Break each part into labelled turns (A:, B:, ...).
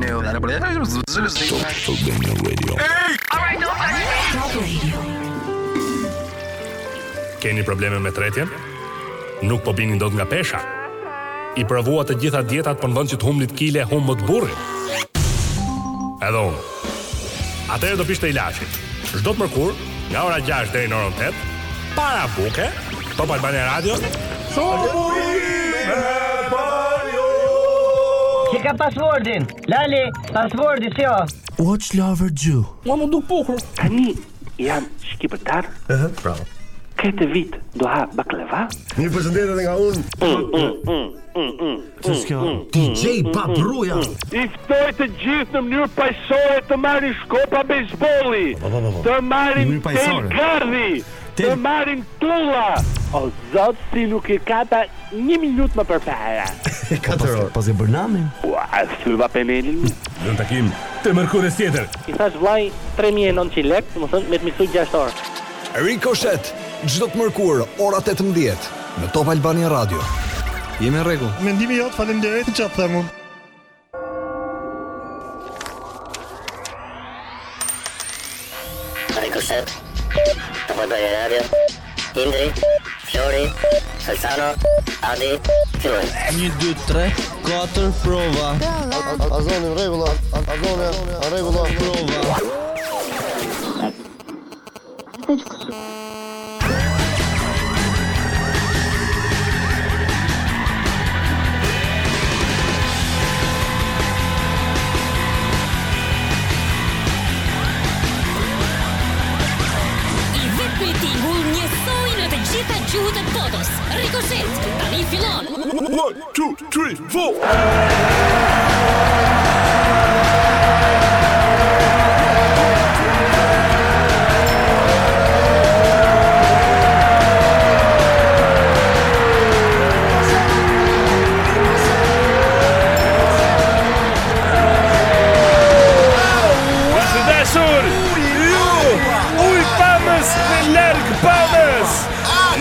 A: Në përjetër
B: Albania Radio.
C: Keni probleme me tretjen? Nuk po bini dot nga pesha. I provua të gjitha dietat për në vend që të humnit kile, humbët burrin. Edhe unë. Atëherë do pishte ilaçin. Çdo të mërkur, nga ora 6 deri në orën 8, para buke, Top Albania Radio.
D: Që ka pasvordin? Lali, pasvordi si o?
B: Watch Lover Jew.
E: Tani jam shqiptar. Ëh,
F: bravo.
E: Këtë vit do ha baklava?
F: Mirë përshëndetje edhe nga unë.
G: Mm,
F: Ç'është kjo? DJ Papruja.
G: I ftoj të gjithë në mënyrë paqësore të marrin shkopa bejsbolli,
F: po, po, po.
G: të marrin
F: Në mënyrë
G: tel
F: paqësore.
G: gardhi, të
F: Tel-
G: marrin tulla.
E: O zot, si nuk e kata një minutë më përpara.
F: Katër orë.
B: Pas e bërnamin.
E: Ua, flyva penelin.
C: Në takim të mërkurës tjetër.
E: I thash vllai 3900 lekë, do të thonë me të miksoj 6 orë.
H: Ricochet, çdo të mërkur, ora 18 në Top Albania Radio. Jemi në rregull.
I: Mendimi jot, faleminderit që atë them unë.
J: Ricochet, Top Albania Radio, Indri, Flori, Salsano, Adi, Filloj.
D: 1, 2, 3, 4 prova
J: I vetë mitingu njësoj në të gjitha gjuhët e botës. Ricochet, tani fillon.
C: 1 2 3 4.
G: Të dashur, ju, uj pamës dhe larg pamës.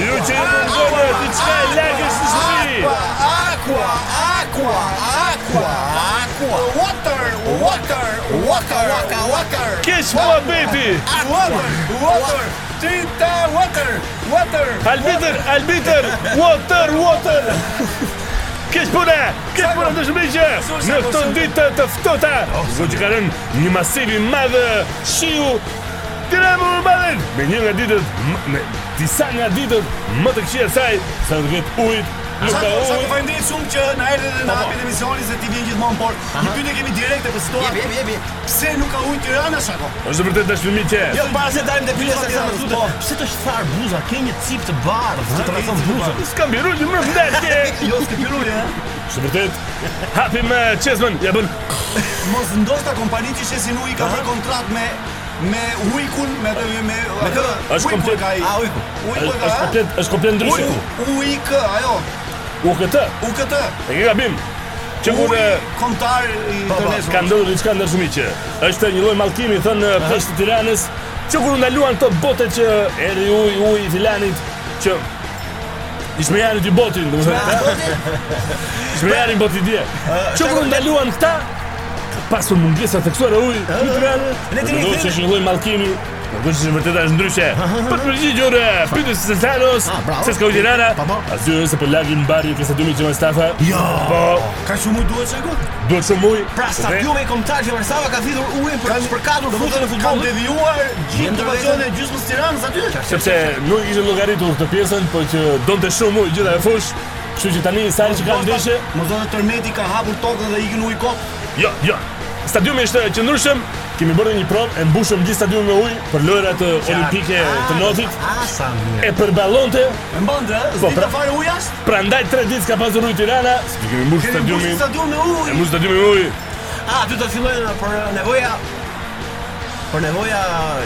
G: Ju që e mërgova të qka e largës në shpi.
H: Aqua, aqua, aqua, aqua. Water, water, water, waka, water.
G: Kesh mua beti.
H: Water, water. Tinta, water, water.
G: Albiter, albiter, water, water. Kesh puna, kesh puna të shmiqe Në këto ditë të ftota Zdo që ka rënë një masivi madhë Shiu Tiranë më madhen Me një nga ditët m- Me disa nga ditët Më të këshia saj Sa të vetë ujt Nuk
F: Sa
G: ka
F: sa
G: ujt
F: të falenderoj shumë që na erdhe dhe na hapi emisionin se ti vjen gjithmonë por një pyetje kemi direkte për situatë.
A: Jepi, jepi,
F: Pse nuk ka ujë Tirana shako?
C: Është vërtet dashurimi që.
F: Jo, para se dalim te pyetja e
A: Po,
F: saktë.
A: pse të shfar buza? Ke një cip të bardhë, të trashon buza.
C: S'ka mbiru një mërë vdekje
F: Jo, s'ke pirulje, ha?
C: Së vërtet Hapi me qesmen Ja bën
F: Mos ndoshta kompania që shesin ujë ka bërë kontratë me me Ujkun, me me me me kë?
C: Është komplet-
F: ka ai.
A: A, ujku.
F: Ujku
C: është
F: ka. eh. ha?
C: komplet është komplet ndryshe
F: Ujku, Ujk, ajo,
C: U këtë
F: UKT.
C: E ke gabim Që kur
F: Uj
C: e,
F: kontar i
C: Po, Ka
F: International.
C: ndodhur diçka ndërshumi që është një lloj mallkimi thënë në peshë të Tiranës, që kur u ndaluan këto bote që erdhi uji uji i Tiranit që Ishmejani dy botin, do të thënë. Ishmejani boti dje. Që kur u ndaluan këta pasur mungesa theksuar e ujit në Tiranë,
F: Le të
C: do
F: një
C: të ishte një lloj mallkimi Nuk është vërtet është ndryshe. Për të përgjigjur e, pyetjes së Sanos,
A: Ah, bravo.
C: se s'ka u Tirana.
A: Pa, po.
C: Asgjë se po lagim barri kësaj dymi që më stafa.
A: Jo.
C: Po,
F: Ka shumë ujë duhet shako?
C: duhet shumë ujë.
A: Pra
C: Dhe-
A: stadiumi kombëtar që Varsava ka thithur ujin për
F: Kanë-
A: përkatur futën e
F: Kam
A: futbollit.
F: devijuar gjithë
A: Jam të
F: ndërvajon e gjysmës Tiranës aty.
C: sepse nuk ishte llogaritur këtë pjesën, por që donte shumë ujë gjitha e fush, kështu që tani sa herë që ka ndeshje,
F: Mos do të tërmeti ka hapur tokën dhe ikin ujë kot.
C: jo, jo. Stadiumi është qëndrueshëm, kemi bërë një provë e mbushëm gjithë stadiumin me ujë për lojrat e, olimpike të notit.
A: Ah, sa mirë.
C: E përballonte,
F: E mbante, ë?
C: Po,
F: Zdi
C: pra-
F: ta fare ujë as?
C: prandaj 3 ditë ka pasur ujë Tirana, sepse kemi mbushur
F: Kemi mbushë
C: stadiumin.
F: stadium me
C: E
F: ujë.
C: mbushur stadiumin me ujë.
A: Ah, aty do të fillojnë për nevoja për nevoja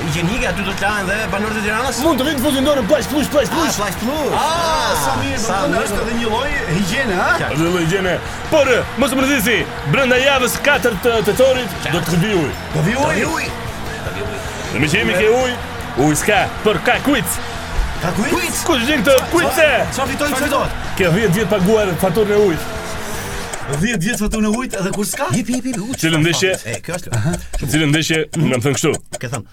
A: higjienike aty do të lahen dhe banorët e Tiranës.
C: Mund të vinë të fusin dorën plaç plush plaç
A: Ah,
C: plush.
A: flash plus.
F: Ah, sa mirë,
A: sa
F: do të
A: mirë.
F: është edhe një lloj higjiene, ha?
C: Është lloj gjene. Por mos më rrezisi, brenda javës 4 të tetorit do të vi ujë.
F: Do vi ujë.
A: Ujë.
C: Dhe me që jemi ke ujë, ujë s'ka, për ka quiz.
F: Ka quiz.
C: Kush din këtë quiz-e?
F: Çfarë fitoj çfarë?
C: Kjo 10 vjet paguar faturën e ujit.
F: 10 vjet fotun e ujit edhe kur s'ka.
K: Jepi, jepi, u.
C: Cilën ndeshje?
K: E, kjo është. Aha.
C: Të cilën ndeshje më thënë kështu.
K: Ke thënë.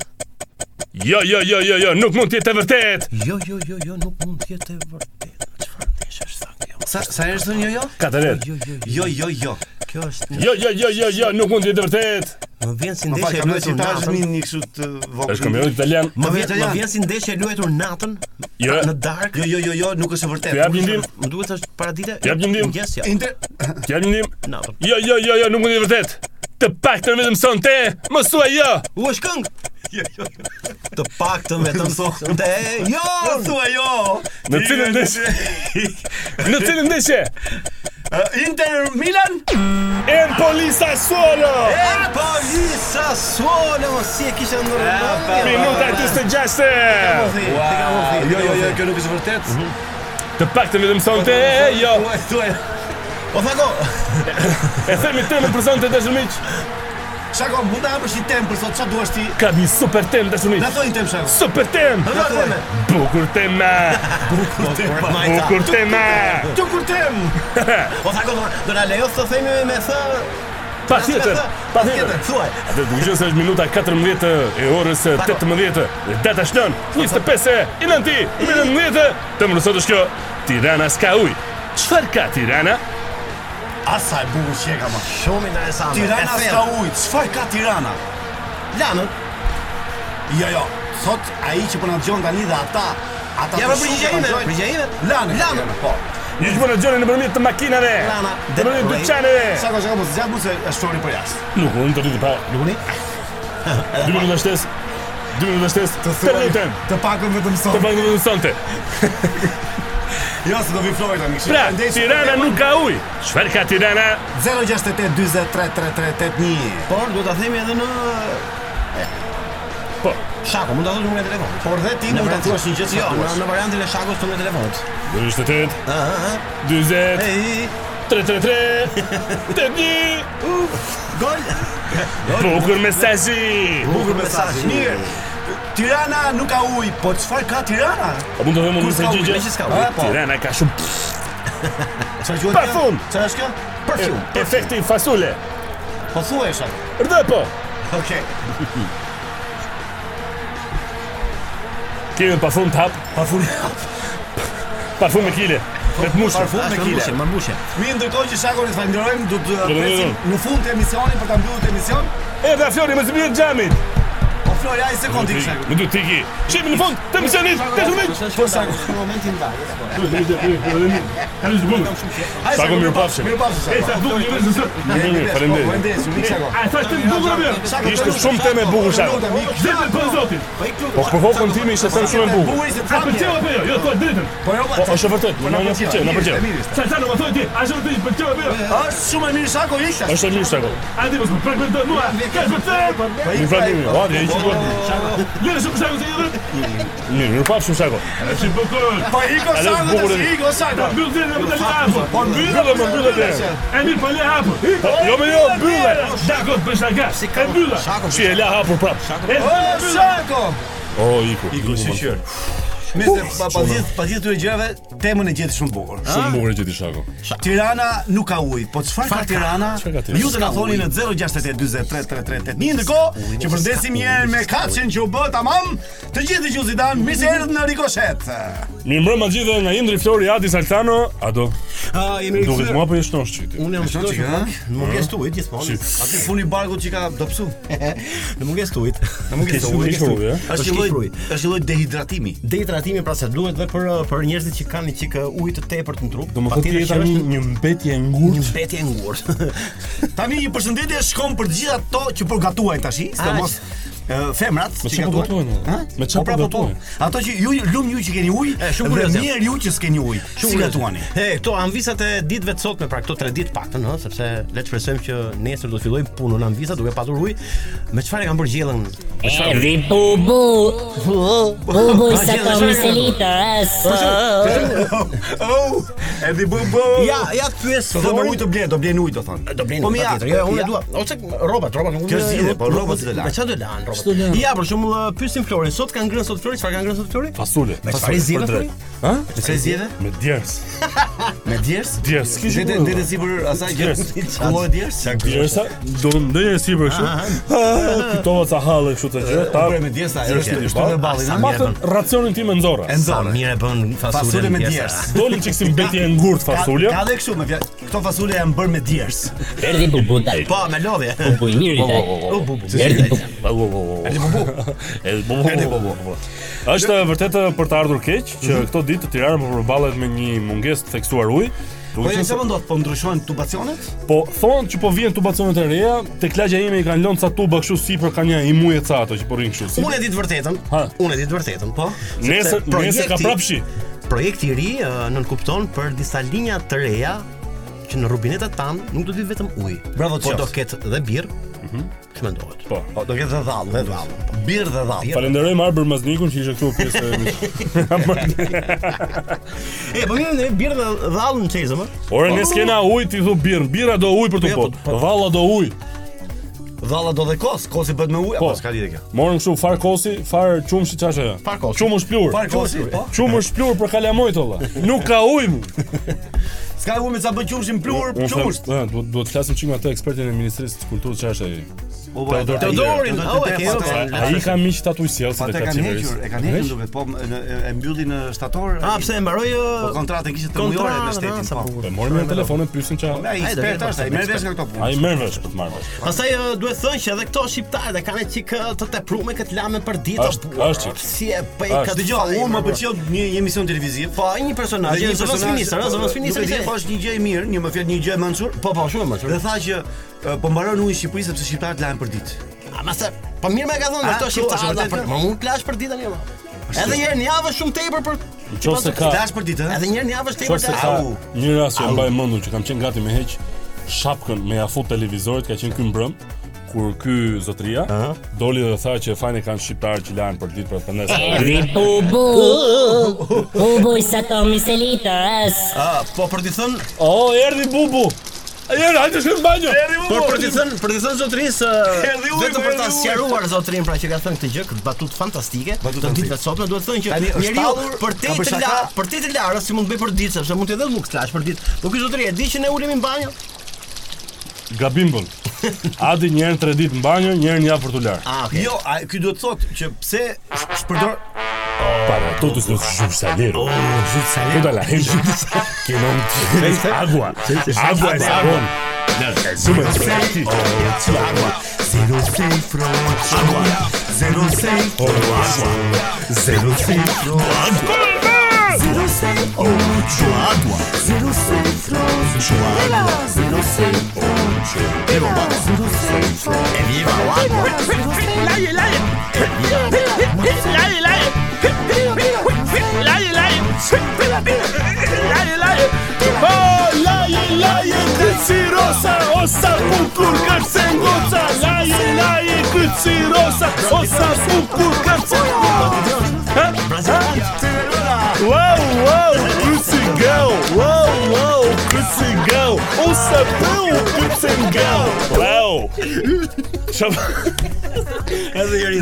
C: Jo, jo, jo, jo, jo, nuk mund të jetë e vërtet.
K: Jo, jo, jo, jo, nuk mund të jetë e vërtetë. Çfarë ndesh është sa kjo?
F: Sa sa herë thon jo jo?
C: Katëret.
K: Jo, jo, jo.
F: Jo, jo, jo.
K: Kjo është.
C: Jo, jo, jo, jo, jo, nuk mund të jetë e vërtet.
K: Më vjen si
F: Më fal,
K: ndeshje e
F: kam
K: luajtur
F: ndajë tashmë
K: natën.
F: një kështu të vogël.
C: Është kampionat italian.
K: Më
F: Më
K: vjen
F: vjen
K: më vjen si ndeshje e luajtur natën
C: Jo.
K: në darkë.
F: Jo, jo, jo, jo, nuk është e
C: Të
F: vërtetë.
C: jap një
G: jo.
C: ndim.
K: Më duhet është para dite.
C: Jap një ndim.
K: Mëngjes ja.
F: Inter
C: Të jap një ndim.
K: Natën.
C: Jo, jo, jo, jo, nuk mund të jetë e vërtet. Të paktën vetëm sonte, mësua jo.
K: U është këngë.
F: të paktën vetëm sonte. Jo, thua jo.
C: Në cilën ndeshje? Në cilën ndeshje?
F: Inter Milan?
C: Empoli Sassuolo.
F: Empoli
K: Sassuolo, mos si e kisha ndërmendje.
C: Minuta 46.
F: Jo, jo, jo, kjo nuk është e vërtetë.
C: Të paktën vetëm sonte, jo.
F: Thuaj, thuaj.
K: O thako,
C: E themi temën për sonte dashur miq.
F: Shako, mund të hapësh një temë për sot, çfarë duash ti?
C: Ka një super temë dashur miq.
F: Na thoj një temë shako.
C: Super temë.
F: Na thoj.
C: Bukur tema.
K: Po,
F: Bukur temë.
C: Bukur tema.
F: Bukur temë.
K: o
F: Po,
K: thako, do na- do na lejo të themi me thë.
C: Patjetër, patjetër.
K: Thuaj.
C: Dhe të gjësë është minuta 14 e orës 18 Dhe data shlon 25 e i nënti i me nëndete Të më nësot është kjo Tirana s'ka uj Qëfar ka Tirana?
F: Asa e bukur që e ka më.
K: Shumë interesante.
F: Tirana
K: E thellë.
F: s'ka ujë. Çfarë ka Tirana?
K: Lanën.
F: Jo, jo. Sot ai që po na dëgjon tani dhe ata, ata
K: Ja
F: të
K: për
F: shumë
K: përgjigje
F: po na
K: ime,
F: dëgjojnë.
K: përgjigje ime.
F: Lanë,
K: Lanë.
F: lanë, po.
C: Një që përnë gjone në përmjet të makinave
K: Tirana,
C: Në përmjet
K: Detroit.
C: dyqaneve
F: Shako, shako, mos e zgjat mu se është shtori për jashtë.
C: Nuk, unë të rritë pra
K: Luni.
C: 2 minuta shtes 2 minuta shtes Të rritëm
F: të pakën vetëm
C: Të
F: sot.
C: pak në sonte
F: Jo, se do vi Flori tani. kështu.
C: Pra,
F: Andaj,
C: Tirana nuk ka uj Qëfar ka Tirana?
F: 068 40 33
K: Por do ta themi edhe në
C: Po,
K: Shaku, mund ta thosh numrin e telefonit.
F: Por dhe ti
K: Në
F: mund ta
K: variantin-
F: thuash një gjë që
K: Jo,
F: duash.
K: në- në variantin e shakut të numrin e telefonit.
C: 28
K: Ah,
C: 20
K: Ej,
C: 333 81
K: gol.
C: Bukur mesazhi.
F: Bukur mesazh. Mirë. Tirana nuk ka ujë, po çfarë ka Tirana?
C: A Po mund të vëmë
F: Kur
C: unë
F: s'ka ujë,
C: përgjigje?
F: me që s'ka ujë. Po.
C: Tirana ka shumë
F: Çfarë quhet?
C: Parfum.
F: kjo? Çfarë është kjo? Parfum.
C: efekti fasule.
F: Po thuaj shaka.
C: Rdë po.
F: Okej.
C: Kemi parfum të hap,
F: Parfum.
C: parfum me kile. Me të mushë.
F: Parfum me kile.
K: Më mbushje.
F: Mi ndërkohë që shakun e falenderojmë, do të
C: do,
F: presim në fund të emisionit për ta mbyllur të emision.
C: Erdha Flori me zbrit xhamit.
F: Po Flori, ai sekond i shakun.
C: Më duhet tiki. Shemi në fund të misionit, të shumit.
F: Po shakun.
C: Tani zbut.
F: Ai
C: Shako, mirupafshim.
F: Mirupafshim.
C: E sa duk një vëzë. Faleminderit.
F: Faleminderit. Faleminderit.
C: A thashë të bukur apo?
F: Shako,
C: Ishte
F: shako,
C: shumë temë e bukur shaka. Dhe për zotin. Po për vokën time ishte thënë shumë e bukur. A pëlqeu apo jo? Jo, thua drejtën.
F: Po jo,
C: Po është e vërtet, po na na pëlqeu, na pëlqeu.
F: Mirë, mirë,
C: Sa sa më thoj ti, a është vërtet pëlqeu apo jo?
F: Është shumë e mirë shako ishte.
C: Është e mirë shaka. A ti mos më fragmentoj mua. Ka vërtet? Një fragmentim.
F: Po,
C: Ha, dhe ishte bukur. Lërë shumë shako se jëve Mirë, mirë papë shumë shako E si bukur
F: Po iko
C: Edhe
F: shako,
C: bukur edhe.
F: dhe si iko shako.
C: Ta mbyllë dhe në më të le hapë
F: Po,
C: Mbyllë dhe më mbyllë dhe E mirë për le hapë Jo me jo, mbyllë Dako të bësha ka E mbyllë Si e le hapur prapë E
F: O shako.
C: O, iku Iku, si qërë
F: Nëse pa pa gjithë pa gjithë këtyre gjërave, temën e gjetë shumë bukur.
C: Shumë bukur e gjithi shako
F: Tirana nuk ka ujë, po çfarë ka Tirana?
C: Çfarë ka Tirana?
F: Ju të na thoni në 0682033338. Një ndërkohë që përndesim një herë me kaçën që u bë tamam, të gjithë dëgjuesit tan, mirë se erdhët në Rikoshet.
C: Mirë mërë ma gjithë nga Indri Flori Adi Saltano Ado
K: Ah, jemi
C: Duket
K: rikthyer.
C: mua po për jeshtë nosh qyti
K: Unë jam
F: Shko
K: shkëlqyer.
F: çik, ha?
K: Në mungesë të ujit gjithmonë.
F: Aty funi barkut që ka dopsu.
K: Në mungesë të ujit. Në
C: Ke shumë një shumë, e?
F: Është një lloj është një lloj dehidratimi.
K: Dehidratimi pra se duhet edhe për për njerëzit që kanë një çik uh, ujë të tepërt në trup.
C: Do më thot
K: Patjetër
C: tjeta
K: që
C: një,
K: është
C: një mbetje
K: një
C: ngurë
K: mbetje e ngurtë.
F: Tani një përshëndetje shkon për të gjitha ato që po gatuajnë tash,
K: Aq.
F: sidomos ë, femrat
C: Me çfarë po gatuajnë,
F: Ha?
C: me çfarë
F: Po, pra,
C: po
F: po, po. Ato që ju lum ju që keni ujë,
K: E, shumë
F: dhe
K: kurioz jam.
F: mirë ju që s'keni ujë. Si gatuani?
K: E, këto anvisat e ditëve të sotme, pra këto 3 ditë paktën, ëh, sepse le të shpresojmë që nesër do të fillojmë punën anvisa duke patur ujë. Me çfarë e kanë bërë gjellën?
L: Erdi bubu Bubu i sa komi se litar as
F: Oh, edhe bu bu.
K: Ja, ja të pyes
F: do të me
K: Florin.
F: ujë të blen, do blen ujë do thon.
K: Do blenë
F: Po, mi ja,
K: patjetër. Jo, unë
F: ja.
K: e dua. Ose robat, robat nuk.
F: Kjo zgjidhje, po, robat si do lan.
K: Me çfarë do lan robat?
L: ashtu në.
K: Ja, për shembull uh, pyesim Flori, sot kanë ngrënë sot Flori, çfarë kanë ngrënë sot Flori?
F: Po,
C: Fasule.
K: Me çfarë zgjidhe Flori?
C: Ha?
K: Me çfarë zgjidhe?
C: Me djers.
F: Me djers?
C: Djers.
F: Dete- dete sipër asaj që- Kulloj djers?
C: Djersa, do të ndonjë si për kështu. Ah, Fitova ca halle kështu të gjë. Ta
F: Po me djersa, ajo është
C: djers,
F: shtu me ballin.
C: Sa
F: ha?
C: më thën racionin tim e nxorra.
F: E nxorra. Sa
K: mirë e bën
F: fasule Fasule me me djers. djers.
C: Dolin çik si mbetje e ngurt
F: Ka-
C: fasulja.
F: Ka dhe kështu me fjalë. Këto fasule janë bërë me djers.
L: Erdhi bubu dal.
K: Po, me lodhje. Po,
L: Bubu i miri dal. Erdhi bubu.
C: Erdhi bubu. Erdhi bubu. Erdhi bubu. Është vërtet për të ardhur keq që këto ditë Tirana po përballet me një mungesë të theksuar ujë.
F: Po e çfarë ndodh? Po ndryshojnë tubacionet?
C: Po thonë që po vijnë tubacionet e reja, tek lagja ime i kanë lënë ca tuba kështu sipër kanë një imuje ca ato që po rrin kështu sipër.
K: Unë e di të vërtetën. Unë e di të vërtetën, po. sepse
C: Nesër- nesër
K: projekti-
C: ka prap shi.
K: Projekti i ri uh, nën kupton për disa linja të reja që në rubinetat tan nuk do të vi vetëm ujë.
F: Bravo,
K: po
F: qoftë.
K: do ketë dhe birr. Mhm. Çmendohet.
C: Po.
F: Po do ketë dhe dhall, dhe dhall.
K: Po,
F: Birr dhe dhall.
C: Falenderoj Marbër Maznikun që ishte këtu pjesë e
K: E, po mirë, ne birr dhe dhallën çezëm.
C: Ore ne s'kena ujë ti thu birr, birra do ujë për të
K: Ja, po,
C: pot. Valla do ujë.
F: Dhalla do dhe kos, kosi bëhet me ujë,
C: Po.
F: apo s'ka lidhje kjo.
C: Morën kështu far kosi, far qumshi çash ajo.
K: Far kosi.
C: Qumë jo. është plur.
F: Far kosi, po.
C: Qumë është plur për kalamojt olla. Nuk ka ujë. mu.
F: S'ka ujë me ça bën qumshin plur,
C: Unë flas,
F: qumsht.
C: ë, duhet duhet të flasim çik me atë ekspertin e Ministrisë të Kulturës çash ai.
F: Po
C: Teodor
K: Teodorin,
F: Teodor,
K: au, e
F: Teodor,
K: ke,
F: Teodor,
K: po.
F: Teodor.
C: Ai ka miq tatuaj sjellse
F: Po
C: të
F: ata e kanë hequr, e kanë hequr duket, po në- e- e mbylli në shtator.
K: A Ah, pse e mbaroi
F: Po kontratën kishte të mujore me shtetin, po.
C: E morëm me telefonin pyesin ça.
F: Po, Ai
K: Ai do
F: ekspert
K: jetë
F: është, ai
K: ekspert.
F: merr vesh nga këto punë.
C: Ai merr vesh për të marrë vesh.
K: Pastaj ë, duhet thënë që edhe këto shqiptarë dhe kanë çik ë, të teprume këtë lame për ditë.
C: Është-
K: po,
C: është qik.
K: si e bëj
C: Është.
K: këtë
F: Dëgjoj, unë më pëlqeu një një emision televiziv.
K: Po ai një personazh,
F: Dhe
K: një personazh finisë, ë, zëvon finisë.
F: Nuk e di, po është një gjë e mirë, një më fjalë një gjë e mençur.
K: Po po, shumë më
F: Dhe
K: shumë.
F: tha që e, po mbaron ujë në Shqipëri sepse shqiptarët lajm për ditë.
K: Ama se po mirë më ka thënë
F: A,
K: këto
F: kjo është
K: shqiptarë.
F: vërtet
K: da, për-
F: kjo?
K: Më unë plash për ditën java. Edhe një herë në javë është shumë tepër për
C: Nëse
K: Po.
C: ka
F: Dash për ditë,
K: Edhe
F: ëh.
K: një herë në javë është tepër.
C: Qose
K: të-
C: ka
K: Au.
C: një rast që e mbaj mendun që kam qenë gati me heq shapkën me afut televizorit ka qenë ky mbrëm kur ky zotria doli dhe tha që fajin e kanë shqiptarë që lajnë për ditë për pendes.
L: Erdhi bubu. Bubu i sa tomi se litërës.
K: Ah, po për të thënë,
C: Oh, erdhi bubu. Erdhi, hajde shkojmë në banjo.
K: po për të thënë, për të thënë zotrisë,
F: Erdhi ujë,
K: vetëm për ta
F: erdhi ujë.
K: sqaruar zotrin pra që ka thënë këtë gjë, këtë batut fantastike,
F: Batut
K: të
F: fantastike.
K: ditëve sotme duhet thënë që
F: Tani është
K: njeriu
F: tallur,
K: për te
F: ka për
K: të la,
F: shaka.
K: për te të larë si mund të bëj për ditë, sepse mund të edhe nuk klash për ditë. Po ky zotri e di që ne ulemi në banjë.
C: Gabim bën. Adi një herë në tre ditë në banjo, një herë në javë për tu larë.
K: Ah, okay.
F: Jo, a- ky duhet thotë që pse shpërdor
C: Para todos los subsaleros.
K: Oh,
C: Toda la gente que no tiene agua. Agua es jabón. Consume gratis. Agua.
B: Zero safe from agua. Zero safe from agua. Zero safe from agua. Zero safe from agua. Zero safe from agua. Zero safe from agua. Zero safe from agua. Zero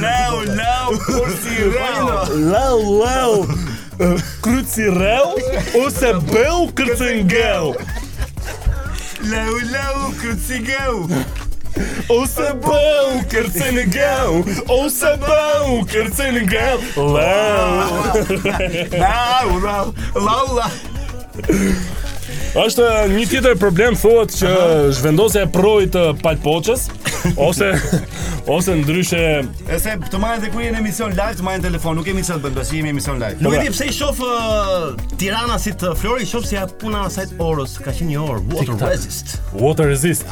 C: Lau, lau, kursi rau Lau, lau Kruci rau Ose bëu kërcëngel
F: Lau lau kërcigau.
C: Ose bëu kërcëngel Ose bëu kërcëngel Lau
F: Lau lau lau lau.
C: është një tjetër problem thuhet që zhvendosja e projit të palpoçës Ose Ose ndryshe
F: Ese të marrin dhe kur jeni në emision live, të marrin telefon, nuk kemi çfarë të bëjmë, tash jemi në emision live.
K: Nuk e di pse i shoh uh, Tirana si të Flori, i shoh si ja puna e asaj të orës, ka qenë një orë water resist.
C: water resist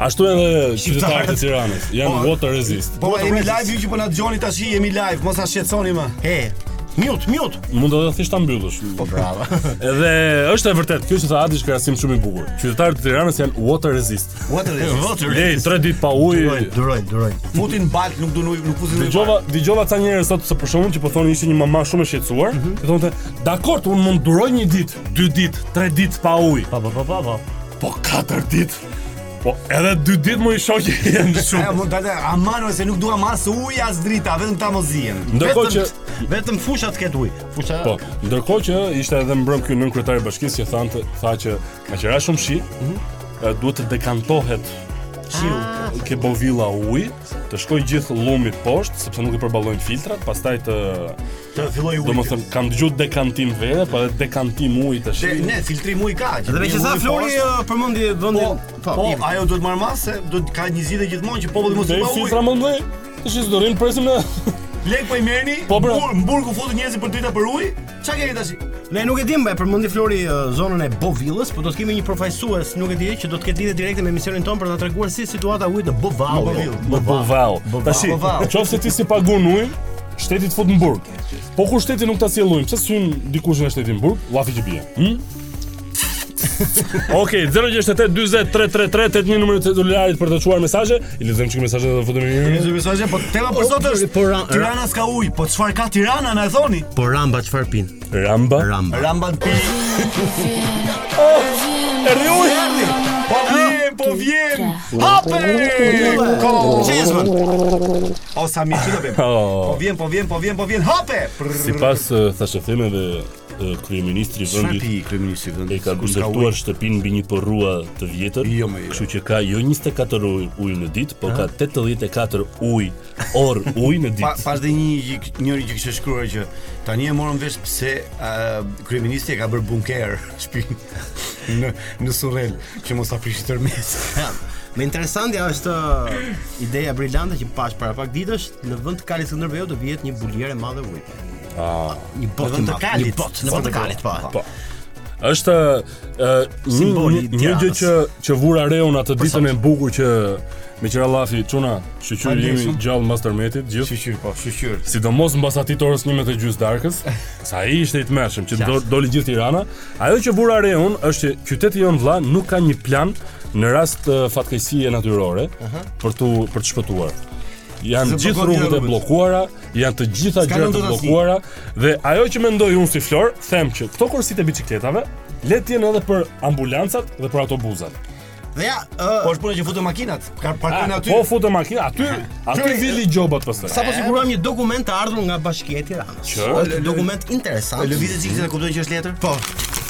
C: Ashtu edhe Ah, qytetarët e Tiranës janë water resist.
F: Po jemi live ju që po na dëgjoni tash jemi live, mos na shqetësoni më.
K: He, mute, mute.
C: Mund të thjesht ta mbyllësh. Po bravo. Edhe është e vërtet, kjo që tha Adi është krahasim shumë i bukur. Qytetarët e Tiranës janë water resist.
F: Water is.
K: Water
C: Lej 3 ditë pa
K: Durojnë,
C: ujë.
K: durojnë, durojnë.
F: Futin balt, nuk duan ujë, nuk fusin ujë.
C: Dëgjova, dëgjova ca njerëz sot se për shkakun që po thonë ishte një mama shumë e shqetësuar, që thonte, "Dakor, unë mund duroj një ditë, dy ditë, tre ditë pa ujë,
K: Pa pa pa pa pa.
C: po katër ditë." Po, edhe dy ditë më i shoqi janë shumë.
F: Ja, mund dalë, aman ose nuk dua mas ujë as drita, vetëm ta mos zihen.
C: Ndërkohë që
K: vetëm fusha të ketë ujë. Fusha.
C: Po, ndërkohë që ishte edhe mbrëm ky nën kryetari i bashkisë që thanë tha që nga qira shumë shi, e, duhet të dekantohet shiu ke bovilla uj, të shkoj gjithë llumit poshtë sepse nuk e përballojnë filtrat, pastaj të
F: të filloj uji.
C: Domethënë kam dëgjuar dekantim vere, po edhe dekantim uji tash.
F: Dhe ne filtrim uji ka. që
K: Dhe me
F: bie
K: që sa
F: uji
K: Flori
F: poshtë.
K: ë, përmendi vendin.
F: Po, po ajo duhet marr mas se do të ka një zgjidhje gjithmonë që populli mos i
C: Dhe
F: pa
C: filtra
F: ujë.
C: mund vej. Tash do rrim presim në
F: Lek po i merrni,
C: Po, bra.
F: mbur- mbur ku futën njerëzit për drita për ujë. Çka keni tash?
K: Ne nuk e dim, e përmendi Flori ë, zonën e Bovillës, por do të kemi një përfaqësues, nuk e di, që do të ketë lidhje direkte me misionin ton për ta treguar si situata e ujit në Bovall.
C: Në Bovall. Tash,
K: Bovall.
C: nëse ti si pagun ujin, shteti të fut në burg. Po kur shteti nuk ta sjell ujin, pse syn dikush nga shteti në burg? Llafi që bie. Hm? Okej, 068 40 333 81 numri i celularit për të çuar mesazhe. I lexojmë çik mesazhet dhe futemi në
F: Një mesazhe, po tema për sot është
K: po, ra-
F: Tirana s'ka ujë, po çfarë ka Tirana na e thoni?
K: Po Ramba çfarë pin?
C: Ramba.
K: Ramba.
F: Ramban pi. Eh,
C: Erdhi uji.
F: Po vjen, po vjen. Hape! Ko- Qizmën. O sa mirë që do bëjmë. Po
C: Oh.
F: vjen, po vjen, po vjen, po vjen. Hape!
C: Sipas eh, thashë themeve eh, kryeministri i vendit
F: kryeministri
C: e ka konceptuar shtëpinë mbi një porrua të vjetër,
F: Jo, me jo.
C: kështu që ka jo 24 ujë ujë në ditë, por ka 84 ujë orë ujë në
F: Pa,
C: ditë.
F: pas dhe një gjik- njëri që kishte shkruar që tani e morëm vesh pse uh, kryeministri e ka bërë bunker shtëpinë në në Surrel që mos ta prishë tërmes.
K: Me interesantja është ë, ideja brillante që pash para pak ditësh, në vend të kalit Skënderbeut do vihet një buljere e madhe uji.
C: Ah.
K: Një botë
F: vend të
K: të kalit,
F: kalit,
K: një botë
F: sa
K: në vend
F: do.
K: të kalit, po.
C: Po. Është ë, një
K: Simboli
C: një-
K: i
C: një gjë
K: Tiranës.
C: që që vura reun atë ditën e bukur që me qira llafi çuna, shqyqyr
F: Falem
C: jemi
F: shumë.
C: gjallë mbas tërmetit gjithë.
F: Shqyr, po, shqyr.
C: Sidomos mbas atij të orës 11 të gjys darkës, sa ai ishte i tmerrshëm që do, doli gjithë Tirana. Ajo që vura re un është që qyteti jon vlla nuk ka një plan në rast uh, fatkeqësie natyrore për tu për të shpëtuar. Janë
F: Se
C: gjithë
F: blokon
C: rrugët e
F: rrugët.
C: bllokuara, janë të gjitha
F: S'ka
C: gjërat të
F: ndodhur asnjë.
C: bllokuara dhe ajo që mendoj unë si Flor, them që këto kursit e biçikletave le të jenë edhe për ambulancat dhe për autobuzat.
K: Dhe ja, uh,
F: Po
K: ë,
F: është puna që futën makinat, ka parkojnë
C: A,
F: aty.
C: po futë makina, aty aty vili gjobat pastaj.
K: sapo siguruam një dokument të ardhur nga Bashkia e Tiranës.
C: Që?
K: Është dokument interesant.
F: Lëvizje çikse Po, e kuptojnë që është letër?
K: Po,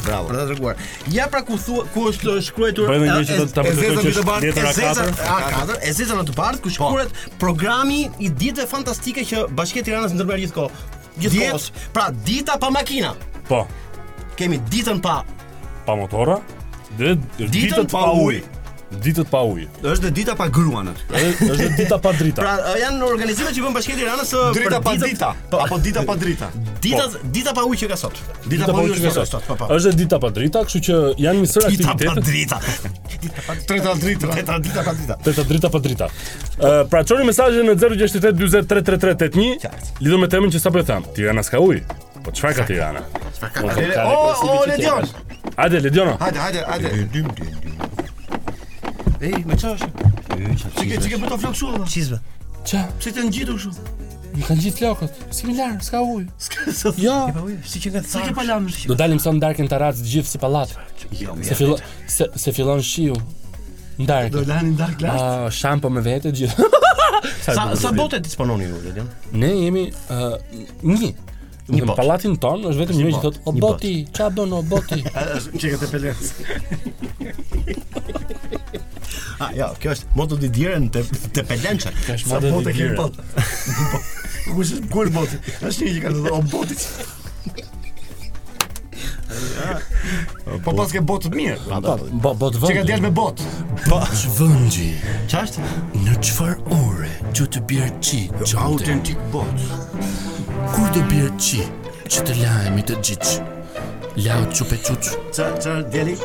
F: Bravo.
K: për ta treguar. Ja pra ku thua ku është shkruar
C: Bëjmë një që ta- ta
K: e-
C: përkujtoj që
K: e zeza
C: është
K: mbi të
C: letër
K: bardhë, e
C: A4.
K: zeza A4, e zeza në të bardhë
F: Po.
K: ku shkruhet programi i ditëve fantastike që Bashkia e Tiranës ndërmer gjithkohë. Gjithkohës. Pra dita pa makina.
C: Po,
K: Kemi ditën pa
C: pa motora dhe ditët pa
F: pa ujë.
C: ujë. Ditët pa ujë.
F: Është dhe dita pa gruan aty.
C: Është është dita pa drita.
K: Pra ë, janë organizimet që vën Bashkia e Tiranës ë, për
F: Drita pa
K: ditët-
F: dita,
K: Po,
F: apo dita pa drita. Po.
K: dita dita pa ujë që ka sot.
C: dita pa ujë që sot.
K: po, po.
C: Është dita pa drita, kështu që janë një sër
K: Dita pa
C: aktivitete.
K: drita.
F: Drita drita.
K: Dita dita pa drita.
C: Të drita pa drita. Ë pra çoni mesazhin në 068 40 33 81 lidhur me temën që sapo e tham. Tirana s'ka ujë. Po çfarë ka Tirana? Po
F: Lele, o, o, Ledion.
C: Hajde Lediona.
F: Hajde, hajde, hajde.
K: Ej, më çfarë?
F: Çike çike bëto flok kështu. valla?
K: Çizve.
F: Pse të ngjitur kështu?
C: Më kanë gjithë flokët. Similar, s'ka ujë. Jo.
K: Si që nga
F: Çike
K: thar.
F: pa lamë.
C: Do dalim sa në darkën të racë gjithë si pallat.
K: Jo,
C: Se fillon se, se fillon shiu. Ndarkë.
F: Do lani dark glass.
C: Ah, shampo me vete gjithë.
K: Sa sa bote dispononi ju, Ledion?
C: Ne jemi uh, një. Në
K: bot.
C: pallatin ton është vetëm një që
K: bot.
C: thotë "O
K: Një bot."
C: boti, ç'a bën o boti?"
F: Çike të pelens.
K: Ah, jo, kjo është moto di djerën te te Pelençe.
C: është
F: Sa
C: model
F: bote
C: i
F: kemi
C: lirë.
F: po. Kush është kur boti? Është një që ka thënë o boti. Po pas ke botë të mirë.
C: Bo bot vend.
F: Që ka djalë me botë.
B: Vëngji
K: Çfarë është?
B: Në qëfar ore që të bjerë qi Qante
F: Autentik botë.
B: Kur të bjerë qi Që të lajmi të gjitsh Lau qupe quq
F: Ça ça djali?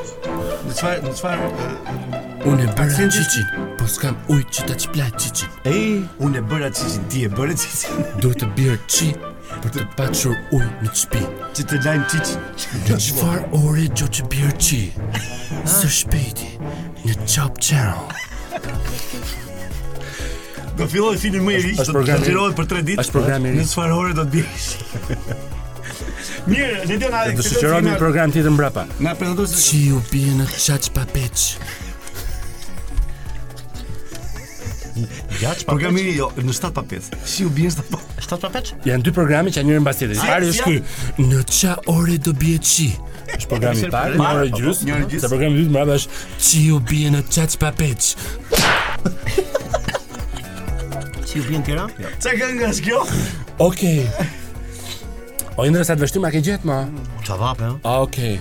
F: Në çfarë në çfarë
B: Unë e bëra qiqin Po s'kam uj që të qplaj qiqin
F: Ej, unë e bëra çiçin, ti e bëre çiçin.
B: Duhet të bjerë qi Për të pachur uj në qpi
F: Që të lajm çiçin.
B: Në qëfar ore që të bjerë qi Së shpejti Në Chop Channel
F: Do filloj filmin më i ri,
C: është
F: do të
C: programi-
F: xhirohet për 3 ditë.
C: është programi i ri.
F: Në çfarë ore do të biesh? Mirë, le të na
C: Do shoqëron një program tjetër mbrapa.
F: Na prezantoj se
B: Qi u bje në qaq pa peq
G: Gjatë
F: Programi jo, në 7 pa 5. Si u bie 7 pa
G: 7 pa 5?
M: Janë dy programe që janë njëri mbas tjetrit.
G: Si,
M: Pari
G: si
M: është ky. Në ça ore do bie çi? Është programi i
G: Mirë,
M: parë,
G: mirë,
M: një orë
G: po, po,
M: gjys.
G: një orë gjys.
M: Sa programi i dytë mbrapa është çi u bie në çaç pa peç.
G: Si u bie në Tiranë? Jo.
F: Çka këngë është kjo?
M: Okej. O Indra sa të vështim a ke gjetë ma?
G: Ça va po?
M: Okej.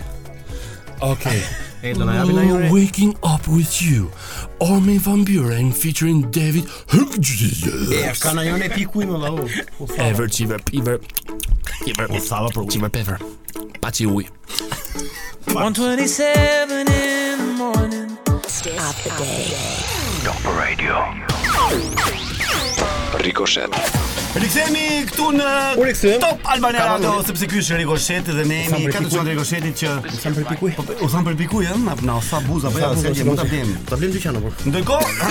M: Okej.
G: E, do na japin ai ore?
M: Waking up with you. Armin van Buren featuring David Hughes.
G: Ka na jone pikuj më vau.
M: Ever Chiver Piver. Chiver. U thava për Chiver Piver. Pa çi uj.
N: 127 in the morning.
O: Up the day.
P: Top Radio. Ricochet.
F: Rikthehemi këtu në Top Albania
P: Ka
F: Radio
P: mundësi.
F: sepse ky është Rikosheti dhe ne
P: Sa
F: jemi
P: për
F: katër
P: pikuj?
F: çon Rikoshetit që
P: U tham për pikuj.
F: Po, u tham për pikuj, ëh, na na u tha buza, po ja
G: Sa-
F: s'ka
G: sa-
F: gjë, mund ta
G: sa-
F: blejmë.
G: Ta blejmë dyqanin po.
F: Ndërkohë,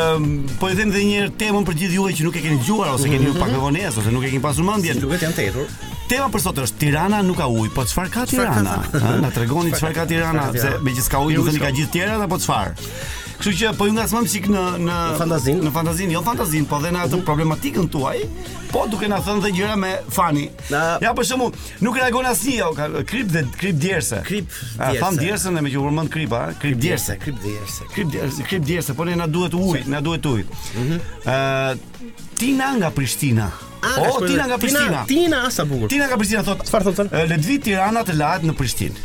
F: ëm, po i them edhe një herë temën për gjithë juve që nuk e keni dëgjuar ose keni ju pak me vonesë ose nuk e keni pasur mendjen.
G: Duhet janë tetur.
F: Tema për sot është Tirana nuk ka ujë, po çfarë ka
G: Çfarë ka-
F: Tirana? Ë, Na tregoni çfarë ka Tirana,
G: Çfarë ka
F: se
G: Tirana?
F: megjithë s'ka ujë,
G: Ujë
F: do thënë
G: s'ka.
F: ka gjithë tjerat apo çfarë? Kështu që po ju ngacmojmë sik në në fantazin, në fantazin, jo fantazin, po dhe në atë problematikën tuaj, po duke na thënë dhe gjëra me fani. Ja për shembull, nuk reagon asnjë, ka krip dhe krip djerse. Krip
G: djerse.
F: Tham djersën dhe me që u përmend kripa, a? krip djerse.
G: Krip djerse.
F: Krip djerse, krip djerse, po ne na duhet ujë, na duhet ujë. Ë Tina nga Prishtina.
G: Ah, ka
F: O,
G: shkruar-
F: Tina nga Prishtina.
G: Tina, Tina, sa bukur.
F: Tina nga Prishtina thot. Çfarë thon? Ledvi Tirana të lahet në Prishtinë.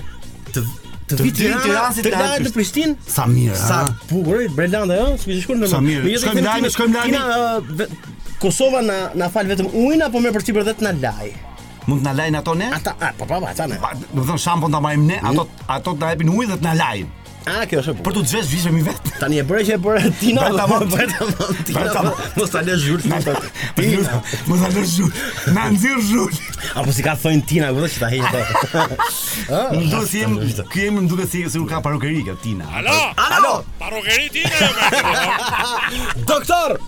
F: Të
G: Të vi Tirana, të lahet në Prishtinë.
F: Sa mirë,
G: Sa
F: ha?
G: bukur, Brelanda, ëh, s'ke shkuar në.
F: Sa mirë. Shkojmë lajmi, shkojmë lajmi.
G: lajmi. Kosova na na fal vetëm po ujin apo më përcipër edhe të na laj.
F: Mund të na lajnë ato ne?
G: Ata, a, po po, ata ne.
F: Do të thonë shampon ta marrim ne, ato ato të na japin ujë dhe të na lajnë.
G: A, kjo është e bukur.
F: Për të zhvesh vishëm i vet.
G: Tani e bëre që e bëre Tina.
F: Bëre tamam,
G: bëre tamam, Tina.
F: Bëre tamam.
G: po, Mos ta lë zhurt.
F: Tina. Mos ta lë zhurt. Na nxirr zhurt.
G: Apo si ka thënë Tina, kupton që ta heq ato.
F: Më duhet si jem, ky emër më duket si sikur ka parukeri kjo Tina.
G: Alo? Alo?
C: Parukeri ti na.
G: Doktor.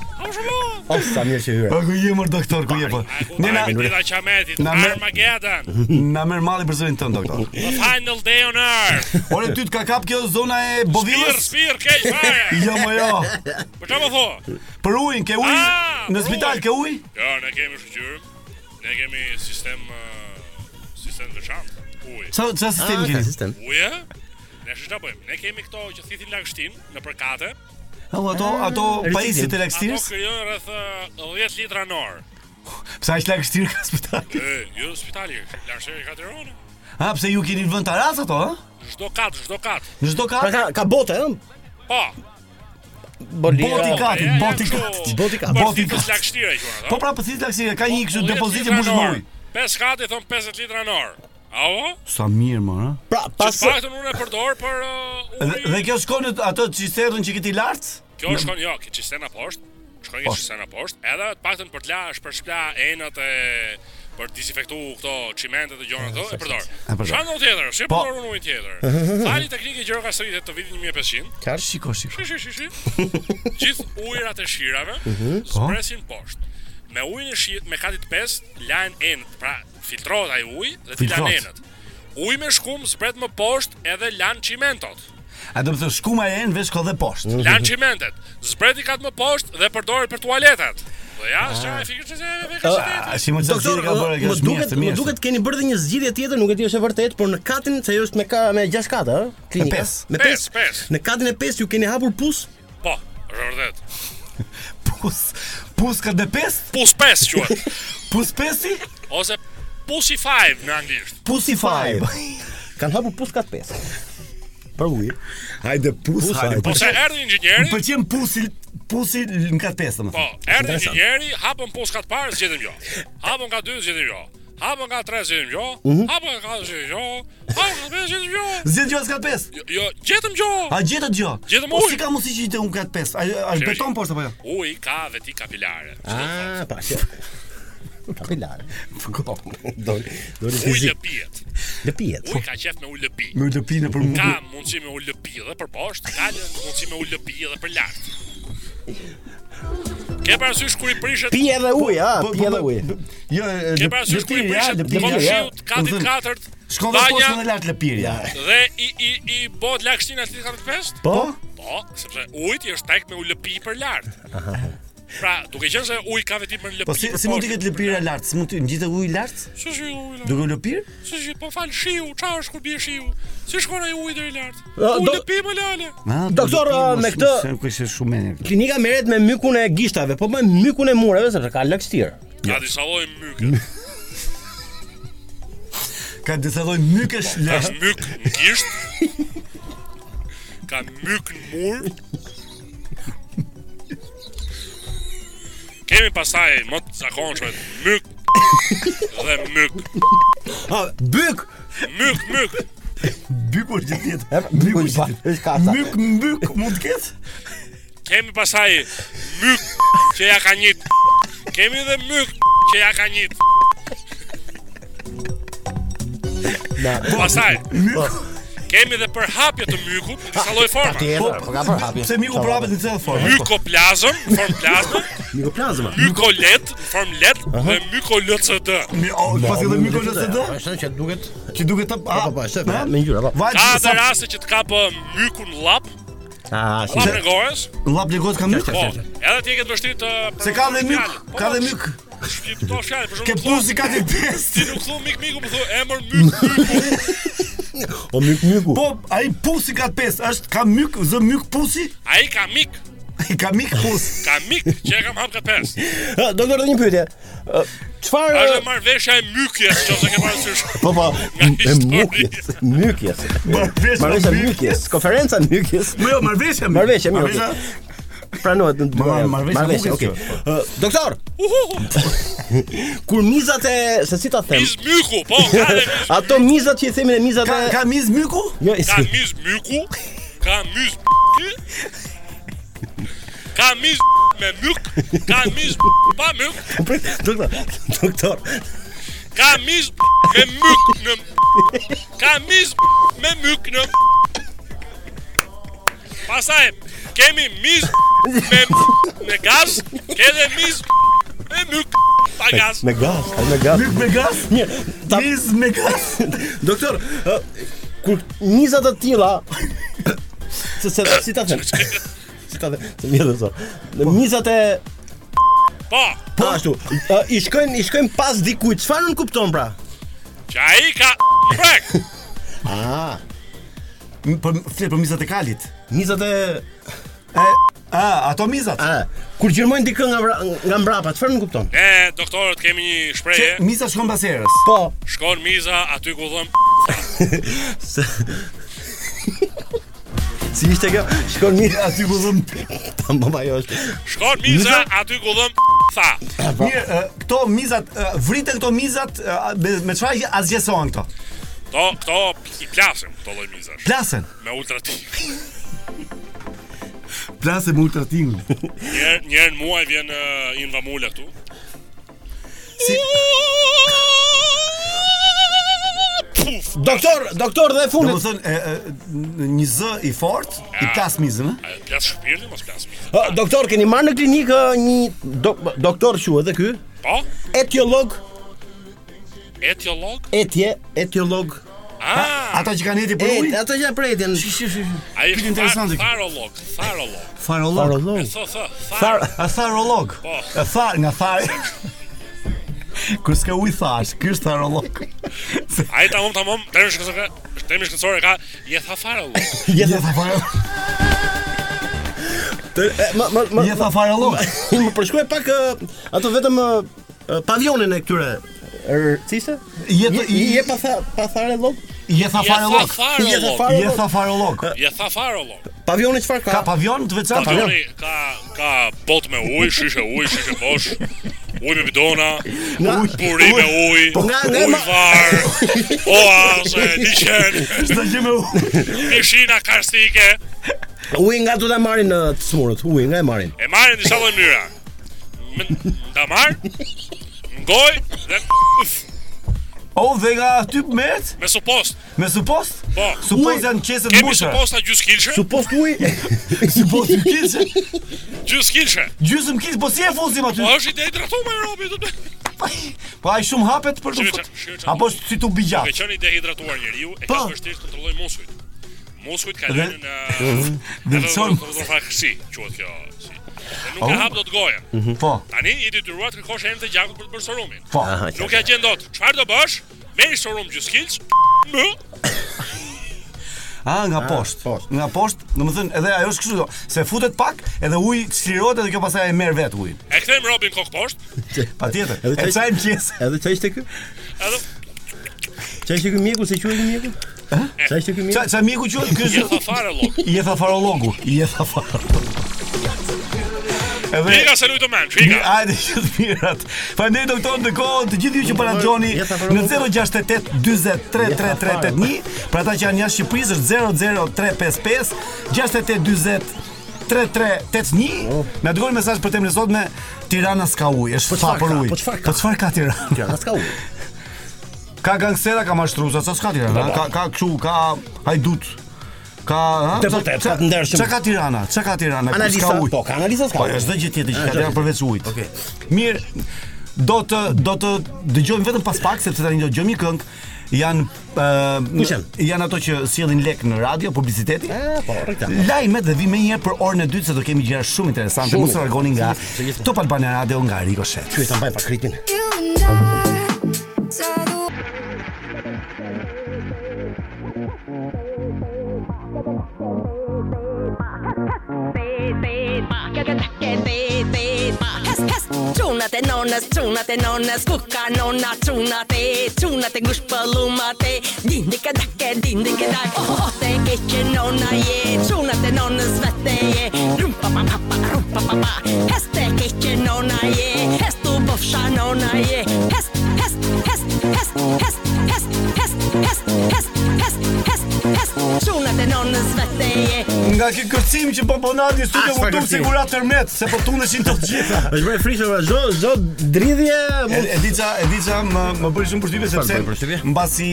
G: O sa mirë që hyre.
F: Po ku je mor doktor, ku je po? Ne na
C: Dita Qametit,
F: Na mer-
C: Armageddon,
F: na merr malli për zërin tënd doktor.
C: the final day on earth.
F: Ore ty të ka kap kjo zona e
C: Spir,
F: bovillës?
C: spir, keq fare.
F: Jo, mo jo.
C: Po çfarë po thua?
F: Për Ah, ujin, ke ujë? Në spital ke ujë?
C: Jo, ne kemi shqyrë. Ne kemi sistem uh, sistem të veçantë. Ujë.
F: Sa- sa sistem Ah, ka keni? sistem.
C: Ujë? Ne shë bëjmë. Ne kemi këto që thithin lagështin në përkate.
F: Au, ato ato pajisjet e
C: Ato
F: lagstirës?
C: krijojnë rreth uh, 10 litra në orë.
F: Pse aq lagështirë ka spitali?
C: E, jo spitali, lagështiri ka Tiranë.
F: Ha, Ah, pse ju keni vënë taras ato, ha?
C: Çdo kat, çdo kat.
F: Në çdo kat?
G: Pra ka ka bote, ëh?
C: Po.
G: Boli-
F: boti
G: Ja,
F: kati,
G: ja, ja,
F: boti
G: kështu,
F: kati.
G: boti kati.
F: Boti
C: Përthitës
F: kati.
C: lagështira i quhen ato.
F: Po pra po si lagstirë, ka një kështu
C: 10
F: depozitë
C: litra
F: mbushë
C: në
F: me
C: orë.
F: ujë.
C: 5 kati thon 50 litra në orë. Apo?
F: Sa mirë, mor, ha?
G: Pra,
C: Pas paktën unë e përdor për uh,
F: Dhe, dhe kjo shkon në atë çisterrën që keti lart?
C: Kjo shkon jo, ke qistena poshtë, shkon ke
F: Poshtë.
C: qistena poshtë, edhe të paktën për t'la, për shpla enët e për disinfektu këto çimentet e gjona këto, e përdor.
F: E përdor.
C: Çfarë do tjetër? Si e
F: Po.
C: përdor unë ujin tjetër? Fali teknike gjirokastërite të vitit 1500.
G: Qartë
F: shiko, shiko.
C: Shi shi shi shi. Gjithë ujërat e shirave
G: Mhm. Po.
C: spresin poshtë. Me ujin e shirë, me katit 5, lajnë enët, pra filtrohet ai uji dhe ti
F: Filtrohet.
C: lajnë enët. Uji me shkum spret më poshtë edhe lan çimentot.
F: A do të thotë shkuma e në vesh kodhe poshtë.
C: Lan qimentet, zbreti katë më poshtë dhe përdoret për tualetat. Dhe ja, çfarë e fikë çfarë e fikë
F: Ah, si më çfarë zgjidhje ka bërë, kjo
G: më
F: është mirë,
G: duket,
F: është mirë.
G: më duket keni bërë dhe një zgjidhje tjetër, nuk e di është e vërtetë, por në katin se ajo është me ka me 6 katë, ëh? Klinika.
F: Me pesë.
G: Me 5. Në katin e 5 ju keni hapur pus?
C: Po, është vërtet.
F: Pus, pus ka dhe pes?
C: Pus pes quhet.
F: pus pesi?
C: Ose pussy five në anglisht.
F: Pusi 5.
G: Kan hapur pus kat 5. Për ujë.
F: Hajde pus,
G: Pus,
F: hajde.
G: hajde.
F: pus.
C: Ose erdhi inxhinieri.
F: Më pëlqen pusi, pusi në kat pesë, domethënë.
C: Po, erdhi inxhinieri, hapën pus katë parë, zgjedhëm jo. Hapën ka dy, zgjedhëm jo. Hapën ka tre, zgjedhëm jo.
F: Mhm.
C: Hapën ka katër, zgjedhëm jo. Hapën ka pesë, zgjedhëm jo.
F: Zgjidhje as kat pesë.
C: Jo, Jo, gjetëm jo.
F: A gjetët gjë?
C: Gjetëm
F: Po
C: ujë.
F: si ka mundësi që gjetë unë kat pesë? A është
C: Qeveria.
F: beton poshtë apo jo?
C: Uji ka veti kapilare.
G: Ah, pa. që- Kapilare.
F: Po,
G: Doli, doli
C: Uji
G: fizik.
C: lëpijet.
G: Lëpijet.
C: Uji ka qef me u lëpi.
F: Me u lëpi në për-
C: Ka mundësi me u lëpi edhe për poshtë, ka lë- mundësi me u lëpi edhe për lart. Ke parasysh kur i prishet?
G: Pi edhe ujë, ha,
F: po,
G: pi edhe ujë.
F: Jo,
C: Ke parasysh kur i Po, prishet komshiut katit 4?
F: Shkon dhe Po poshtë dhe lart lëpirja.
C: Dhe i i i bëhet lagshtina katit 45?
F: Po?
C: Po, sepse ujti është tek me u lëpi për lart. Pra, duke qenë se uji ka vetëm në lëpirë.
F: Po si si mund të ketë lëpira lart? Si mund të ngjitet uji lart?
C: Si shi uji lart?
F: Duke u lëpir?
C: Si shi, po fal shiu, çfarë është kur bie shiu? Si shkon ai uji deri lart?
K: Ah,
C: U
K: do-
C: lëpi më lale.
F: Ah, po
K: Doktor,
F: lëpir,
K: me
F: mos-
K: këtë
F: se ku ishte shumë mirë.
K: klinika merret me mykun e gishtave, po me mykun e mureve sepse ka lëkstir.
C: Ka disa lloj myk.
F: Ka disa lloj mykësh
C: Ka
F: lart.
C: myk në gisht. Ka myk në mur. Kemi pastaj më të zakonshme myk dhe myk.
K: Ah, byk.
C: Myk, myk.
F: Byku është gjithë jetë.
K: Byku është gjithë kasa.
F: Myk mbyk mund të ketë?
C: Kemi pasaj myk që ja ka njit. Kemi dhe myk që ja ka njit.
K: Na.
C: Pasaj. Kemi dhe përhapje të mykut në disa lloj forma.
K: Patjetër, po ka përhapje.
F: Pse miku prapet në çfarë formë?
C: Mykoplazëm, në formë plazme,
K: Mikoplazma.
C: mykolet, në formë let dhe mykolcd.
F: Pasi edhe miku LSD?
K: Është që duket.
F: Që duket të
K: Po, po, po, është pra, me ngjyra, po.
F: Vajt,
C: Ka dhe
F: sa-
C: raste që të kapë mykun llap,
K: Ah, si.
C: llap në gores.
F: Llap në gojë ka myk?
C: Po, edhe ti e ke të vështirë të
F: Se ka dhe myk,
C: Po,
F: ka
C: po,
F: dhe myk.
C: Shqipto fjalë, për shembull.
F: Ke
C: nuk thua-
F: pusi ka të pjesë.
C: Ti nuk thu mik miku, po thu emër myk myku.
K: O myk myku.
F: Po, ai pusi ka pesë, është ka myk, zë myk pusi?
C: Ai ka mik,
F: Ai ka myk pusi.
C: ka mik që e kam hap ka pes.
K: Ah, Doktor, dhe një pyetje. Ë, Çfarë
C: Është e marrveshja e mykjes, nëse ke parasysh.
K: Po po,
C: Nga
K: e mykjes, mykjes.
F: Marrveshja
K: Marrveshja mykjes, konferenca mykjes.
F: Jo, marrveshja myk.
K: Marrveshja mykjes.
F: Marrveshja-
K: okay. Pranohet në dy.
F: Ma-
K: variante.
F: marrveshja mykjes,
K: okay.
F: kjo.
K: Ë, Doktor,
C: Uhuhu.
K: kur mizat e se si ta them?
C: Miz myku, po, ka dhe miz.
K: Ato mizat që i themin e mizat e
F: Ka ka miz myku?
K: Jo,
C: Ka
K: si.
C: miz myku, ka miz ky. Ka miz me myk, ka miz pa myk,
K: Prit, Doktor, doktor.
C: ka miz me myk në Ka miz me myk në Pasaj, kemi miz me me gaz, ke dhe miz me myk pa gaz.
K: Me gaz, ai me gaz.
F: Myk me gaz?
K: Mirë, ta
F: Miz me gaz?
K: doktor, ë, kur mizat e tilla se se si ta them? Si ta them? Se mirë doktor. Në mizat e
C: Po,
K: Po ashtu, ë, i shkojnë i shkojnë pas dikujt. Çfarë nuk kupton pra?
C: që ai ka mbrek.
K: Ah,
F: M- Për flet për mizat e kalit.
K: mizat e
F: E a ato mizat?
K: a, kur gjirmojnë dikë nga vra- nga mbrapa, çfarë nuk kupton?
C: Ne doktorët kemi një
F: Që
C: shprehje,
F: miza shkon pas erës.
K: Po,
C: shkon miza aty ku dhëm.
K: se Si ishte kjo? Shkon mirë aty
F: po
K: ku dhëm. Tamam ajo është.
C: Shkon miza aty ku dhëm. Tha.
F: Mirë, e, këto mizat e, vriten këto mizat e, me me çfarë asgjësohen këto?
C: To, këto i plasim, këto lloj mizash.
F: Plasen.
C: Me ultratim.
F: Plasen me ultratim.
C: Njerë njerë në muaj vjen uh, Invamula këtu.
F: Si
C: Puf.
K: Doktor, doktor dhe
F: do të
K: funit.
F: thonë e, e, n- një z i fortë i plas mizën, ë?
C: A plas shpirtin mos plas mizën?
K: Ë, Doktor, keni marrë në klinikë ë, një do- doktor quhet edhe ky?
C: Po,
K: Etiolog,
C: etiolog.
K: etje, etiolog.
C: Ah,
F: Ato që kanë heti për
K: E,
F: ujë.
K: ato që për etjen.
C: ai
F: pyetje
C: është
F: interesante
C: fa-
F: kjo.
C: farolog, farolog.
F: Farolog.
C: E tho tho,
F: Thar,
C: far.
F: a tharolog.
C: Po.
F: E thar nga thar. Kur s'ka ujë thash, ky është tharolog.
C: Ai tamam tamam, temi shkësore, temi shkësore ka je tha farolog.
K: Je
F: Je tha farolog.
K: më më më
F: Je tha farolog.
K: më përshkruaj pak ë, ato vetëm ë, ë, pavionin e këtyre. Er, si ishte?
F: Je
K: Je
F: tha
K: je pa tha pa thare llog.
F: je tha
C: Je tha
F: farolog.
K: Je tha
C: farolog.
F: Je tha
K: farolog.
F: farolog.
C: Je tha farolog.
K: Pavioni çfarë ka?
F: Ka pavion të veçantë?
C: Pavioni ka ka bot me ujë, shishe ujë, shishe bosh. Ujë me bidona, buri me ujë,
K: Po nga- nga
C: ujë
K: ma-
C: var, oase, liqen,
F: Çdo gjë me ujë.
C: pishina karstike,
K: Uji nga do ta marrin në të smurët. Uji nga e marrin.
C: e marrin disa lloj mënyra. Më nda marr, ngoj dhe uf,
F: O Po, dhe nga aty merret
C: me supost.
F: me supost?
C: Po.
F: Supost janë qeset
C: Kemi
F: mbushura.
C: suposta gjys kilshe,
K: Supos uji
F: Supost i kisë.
C: gjys kilshe.
F: Gjysmë kisë, po si e fusim aty?
C: Po është ide hidratuar robi do të.
F: Po ai shumë hapet për të
C: Shqyre
F: fut.
C: qa- shqyre qa-
F: Apo si tu bija.
C: Duke qenë i dehidratuar njeriu, e ka
F: Ah. Po.
C: vështirë të kontrolloj muskujt. Muskujt ka lënë
F: Dhe-
C: uh, në
F: Vëlson.
C: Vëlson faksi, quhet kjo. si.
Q: Dhe nuk e hap dot gojen.
F: Mhm. Po.
Q: Tani i detyruar të kërkosh herën të gjakut për të bërë sorumin.
F: Po. Aha, qartë.
Q: Nuk e gjen dot. Çfarë do bësh? Merri sorum gjyskilç. Më.
F: A Ah, nga poshtë. Nga poshtë, domethënë edhe ajo është kështu, do, se futet pak, edhe uji çlirohet edhe kjo pastaj e merr vet ujin.
Q: E kthem Robin kok poshtë.
F: Patjetër.
K: Edhe
F: E
K: çaj-
F: çajm pjesë.
K: Edhe çaj ishte ky?
Q: Edhe
K: Çaj ishte ky mjeku, se quhet ky mjeku? Çaj ishte ky mjeku?
F: Çaj çaj mjeku quhet ky është
Q: farolog.
F: Jetha farologu, jetha farologu.
Q: Fika se lujtë men, fika.
F: Hajde që të mirat. Faleminderit doktor ndërkohë të gjithë ju që po na dëgjoni
Q: Jetha
F: në
Q: farologu.
F: 068 40 33381, për ata që janë jashtë Shqipërisë është 00355 68 40 3381. Na dërgoni mesazh për temën e sotme Tirana s'ka ujë, është fa për ujë. Oh. Po çfarë ka? Po çfarë ka Tirana? Tirana s'ka ujë. Ka gangsera, ka mashtruza, sa s'ka Tirana?
K: Po, po.
F: Ka ka kshu, ka hajdut. Ka, ha?
K: Deputet, ka po të ndershëm.
F: Çka ka Tirana? Çka ka Tirana?
K: Analiza,
F: ujë.
K: po, ka analiza s'ka
F: Po,
K: ujë.
F: çdo gjë tjetër që
K: Ah,
F: ka
K: çdo
F: Tirana
K: gjë.
F: përveç ujit. Okej. Mirë, do të do të dëgjojmë vetëm pas pak sepse tani do dëgjojmë një këngë janë
K: Kush janë?
F: ë janë ato që sjellin lek në radio, publiciteti.
K: po, reklama.
F: Lajmet dhe vim më një herë për orën e dytë se do kemi gjëra shumë interesante.
K: Shumë.
F: Mos largoni nga
K: Se gjithmonë.
F: Top Albania Radio nga Ricochet.
K: Pyeta mbaj pak ritmin.
E: Tunat e nonës, tunat e nonës, ku ka nona tunat e Tunat e ngush pëllumat e, dindi ka dake, dindi ka dake Oh, oh, oh, te keqe nona je, tunat e nonës vete je Rumpa pa pa pa, rumpa pa pa, hes te keqe nona je Hes tu bofsha nona je, hes, hes, hes, hes, hes, hes, hes, hes, hes, hes, hes, hes Tunat e nonës vete je
F: Nga ky kërcim që po ponati
K: Ah,
F: studio
K: s'pa
F: u duk
K: kërcim.
F: sigura tërmet se po tuneshin të gjitha.
K: Është bërë frikë ora çdo çdo dridhje
F: E, e di ça, e di ça më më bëri shumë përshtypje
K: Çfarë bëri përshtypje?
F: sepse mbasi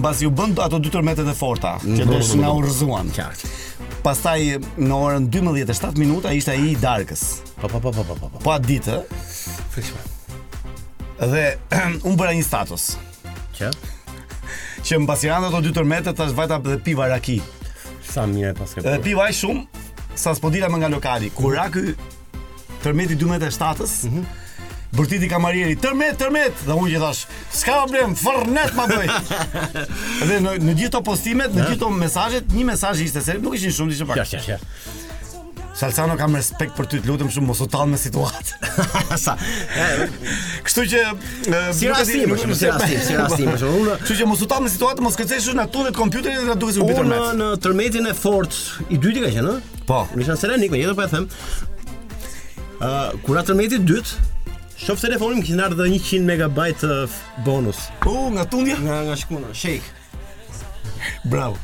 F: mbasi u bën ato dy tërmetet e forta që
K: po,
F: do
K: po,
F: të na
K: po.
F: urrëzuan. Qartë. Pastaj në orën 12:07 minuta ishte ai i darkës.
K: Po po po po po po.
F: Po atë ditë
K: Frikshme.
F: dhe unë bëra një status
K: Që?
F: që mbasi janë ato dy tërmetet tash vajta dhe piva raki.
K: Sa mirë e pas ke.
F: Dhe piva aq shumë sa spodila më nga lokali.
K: Mhm.
F: Kur ra ky tërmeti 12:07-s, Bërtiti kamarieri, tërmet, tërmet Dhe unë që thash, s'ka problem, fërnet ma bëj Dhe në, në gjithë to postimet, në
K: Ja.
F: gjithë to mesazhet Një mesazh ishte se nuk ishin shumë, ishin pak
K: Qartë, qartë,
F: Salsano kam respekt për ty, të lutem shumë mos u tall me situatë. Sa. Kështu që e,
K: Si
F: nuk e di, nuk-
K: rastim, për shembull, si rastim, si rastim, për shembull, unë-
F: Kështu që mos u tall me situatë, mos kërcesh në tunet kompjuterin dhe na duket se u
K: Unë
F: bitër
K: në,
F: me.
K: në tërmetin e fortë i dyti ka qenë, ë?
F: Po.
K: Në Nishan Selanik, me jetër po e them. Ë, kur atë tërmeti i dytë, shoh telefonin më kishin ardhur dhe 100 megabajt ë, f- bonus.
F: U, nga tundja?
K: Nga nga shkuna, shake.
F: Bravo.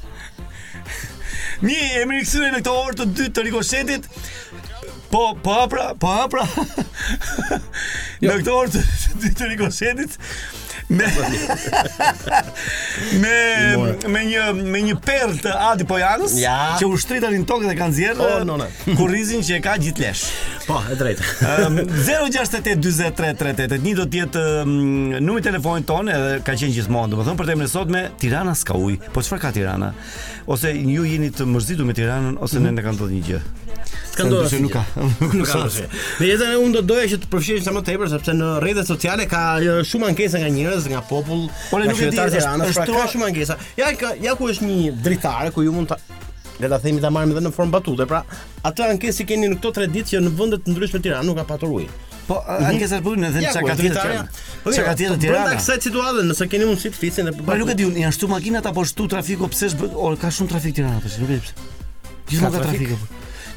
F: Mi emri kësire në këtë orë të dytë të rikoshetit Po, po hapra, po hapra
K: Jo.
F: Në këtë orë të dytë të rikoshetit Me me me një me një perl të Adi Pojanës
K: Ja.
F: që u shtritarin tokë dhe kanë zjerë
K: O, nona.
F: kurrizin që e ka gjithë lesh.
K: Po, e drejtë.
F: Um, 0682033381 do të jetë um, numri i telefonit tonë edhe ka qenë gjithmonë, domethënë për temën e sotme Tirana s'ka ujë. Po çfarë ka Tirana? Ose ju jeni të mërzitur me Tiranën ose
K: Mhm.
F: ne ne kanë ndodhur një gjë.
K: S'ka
F: Se
K: ndodhur
F: ndryshe nuk ka.
K: Nuk ka asgjë. Me jetën e unë do doja që të përfshihej sa më tepër sepse në rrjetet sociale ka e, shumë ankesa nga njerëz, nga popull,
F: Ore,
K: nga
F: Po, nuk e di,
K: qytetarët e
F: është-
K: Tiranës,
F: është
K: pra ka
F: tua-
K: shumë ankesa. Ja ka, ja ku është një dritare ku ju mund ta le ta themi ta marrim edhe në formë batute, pra atë ankesë që keni në këto 3 ditë që në vende të ndryshme të Tiranës nuk ka patur ujë.
F: Po
K: Mhm.
F: ankesa po unë
K: Ja,
F: them çka
K: ku
F: ka
K: është
F: tjetër.
K: dritarja?
F: Tirana?
K: Po
F: Çka
K: mirë,
F: ka tjetër
K: Brenda
F: Tirana?
K: kësaj situate, nëse keni mundësi të flisin e
F: Po nuk e di, unë, janë shtu makinat apo shtu trafiku, pse është bë- o, ka shumë trafik Tirana tash, nuk e di pse. Gjithmonë
K: Ka
F: ka
K: trafik?
F: trafik. apo.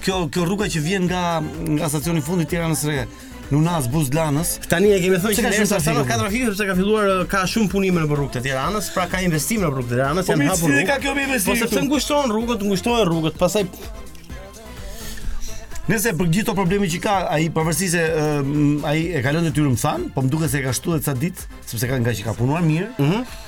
F: Kjo kjo rruga që vjen nga nga stacioni i fundit i Tiranës re, Nunas Buzlanës.
K: Tani e kemi thënë
F: Pse
K: që
F: ka
K: ne
F: shumë
K: sa
F: trafik,
K: ka
F: apo?
K: trafik sepse ka filluar e, ka shumë punime në rrugët e Tiranës, pra ka investime në rrugët e Tiranës,
F: Po
K: janë
F: mirë,
K: hapur.
F: si
K: rrugë.
F: ka kjo me investime
K: Po sepse
F: këtu?
K: ngushtohen rrugët, ngushtohen rrugët, pastaj
F: Nëse për gjithë to problemi që ka, ai pavarësisht se ëm, ai e ka lënë detyrën më than, po më duket se e ka shtuar ca ditë, sepse ka nga që ka punuar mirë. Ëh. ë,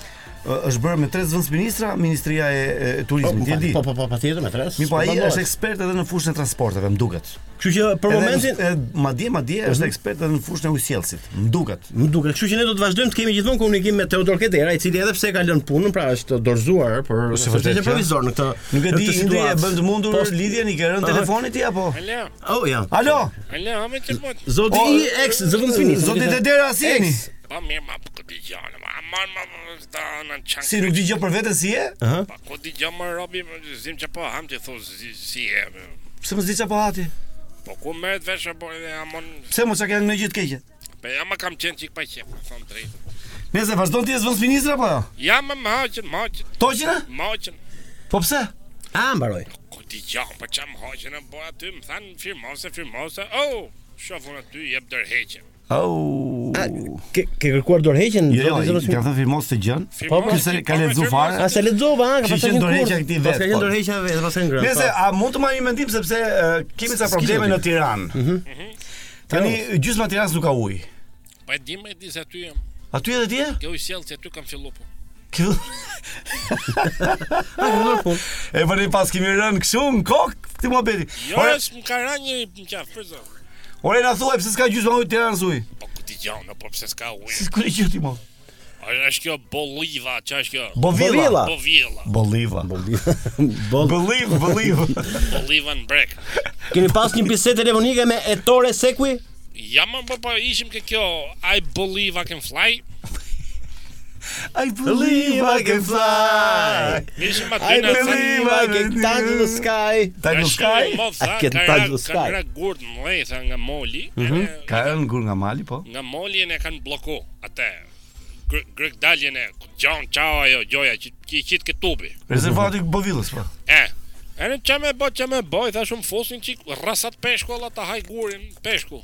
F: është bërë me tre zëvendësministra, Ministria e, e Turizmit, ti e di.
K: Po, po, po, patjetër me tres.
F: Mi po ai
K: s'po
F: është
K: bandohet.
F: ekspert edhe në fushën e transporteve, më duket.
K: Kështu që për
F: Edhe
K: momentin-
F: us- e, madje madje është ekspert edhe në fushën e ujësjellësit, më duket.
K: Më duket, kështu që ne do të vazhdojmë të kemi gjithmonë komunikim me Teodor Kedera, i cili edhe pse ka lënë punën, pra është dorëzuar për
F: Është Po, vërtet
K: shtetin
F: kjo?
K: provizor në këtë.
F: Nuk e
K: në
F: di, Indri
K: këtë
F: e
K: situatë.
F: bën të mundur
K: Po,
F: lidhjen, i ke rënë
K: Aha.
F: telefonit ti apo?
C: Alo.
K: Oh, ja.
F: Alo.
C: Alo, ha me të mund.
K: Zoti
F: O,
K: i ex zëvendësministri.
F: Zoti Dedera, si jeni?
K: Ex.
C: Pa mirë, ma po di gjallë, ma aman ma sta në çank.
F: Si nuk di gjë për veten si je? Ëh.
C: Pa ku di gjë më robi, më zim që po ham ti thos si- si e. më.
F: Pse mos di çapo hati?
C: Po ku merret vesh apo edhe amon.
F: Pse mos e kanë në gjithë keqe?
C: Po ja ma kam qenë çik pa qep, thon drejt.
F: Nëse vazhdon ti e zëvendësministra apo jo?
C: Ja më maqen, maqen.
F: Toqina?
C: Maqen.
F: Po pse?
K: A mbaroj.
C: Ku di gjë, po çam haqen e bëra aty, më than firmose, firmose. Oh, shofun aty jep dërheqje.
F: Au.
K: Ke ke kërkuar dorëheqjen?
F: Jo, jo,
K: zoti
F: i
K: zëvendësministri?
F: kam thënë firmos të gjën.
K: Po, po.
F: Ky se ka lexu fare.
K: A se lexova, ha, ka
F: Kështu
K: pasur
F: që
K: një
F: ndorheqja
K: kurrë.
F: këtij
K: Pas
F: vet.
K: ka një ndorheqja vetë, pas ka ngrënë.
F: po. Nëse
K: po.
F: a mund të marr një mendim sepse e, kemi ca
K: S'kishte Mhm. Jo.
F: probleme në
K: mendim.
F: Tiranë. Mhm. Tani gjysma e Tiranës nuk ka ujë.
C: Po e di më e di se aty jam.
F: Aty edhe ti je?
C: Kjo i sjell se aty kam fillu po.
F: Kjo. E vëri pas kemi rënë kështu në kokë këtë muhabeti.
C: Jo,
F: Ore,
C: s'm ka ra një në qafë, për zot.
F: ore na thuaj pse s'ka gjysma ujë në Tiranë ujë?
C: Po ku ti gjon, po pse s'ka ujë?
F: Si kur i gjeti mo?
C: A është kjo bolliva, ç'a është kjo?
F: Bovilla.
C: Bovilla.
F: Bolliva. Bolliva, bolliva.
C: Bolliva në brek.
K: Keni pas një bisedë telefonike me Ettore Sekuj?
C: Ja më po po ishim ke kjo I believe I can fly.
F: I believe I can fly.
C: Ishim aty
K: I
C: në
K: believe I can touch the sky. I can touch
C: Ka
K: the sky.
C: ra gurt më lej, tha, nga moli.
F: Mhm. Ka rënë gur nga mali po.
C: Nga moli e kanë bloku atë. gr- Grek daljen e Gjon çao ajo gjoja që që- që ke tubi.
F: Rezervati Bovillës po.
C: E. E në që me bë, që me bë, i thash unë fosin qik, rrasat peshku, alla ta haj gurin, peshku.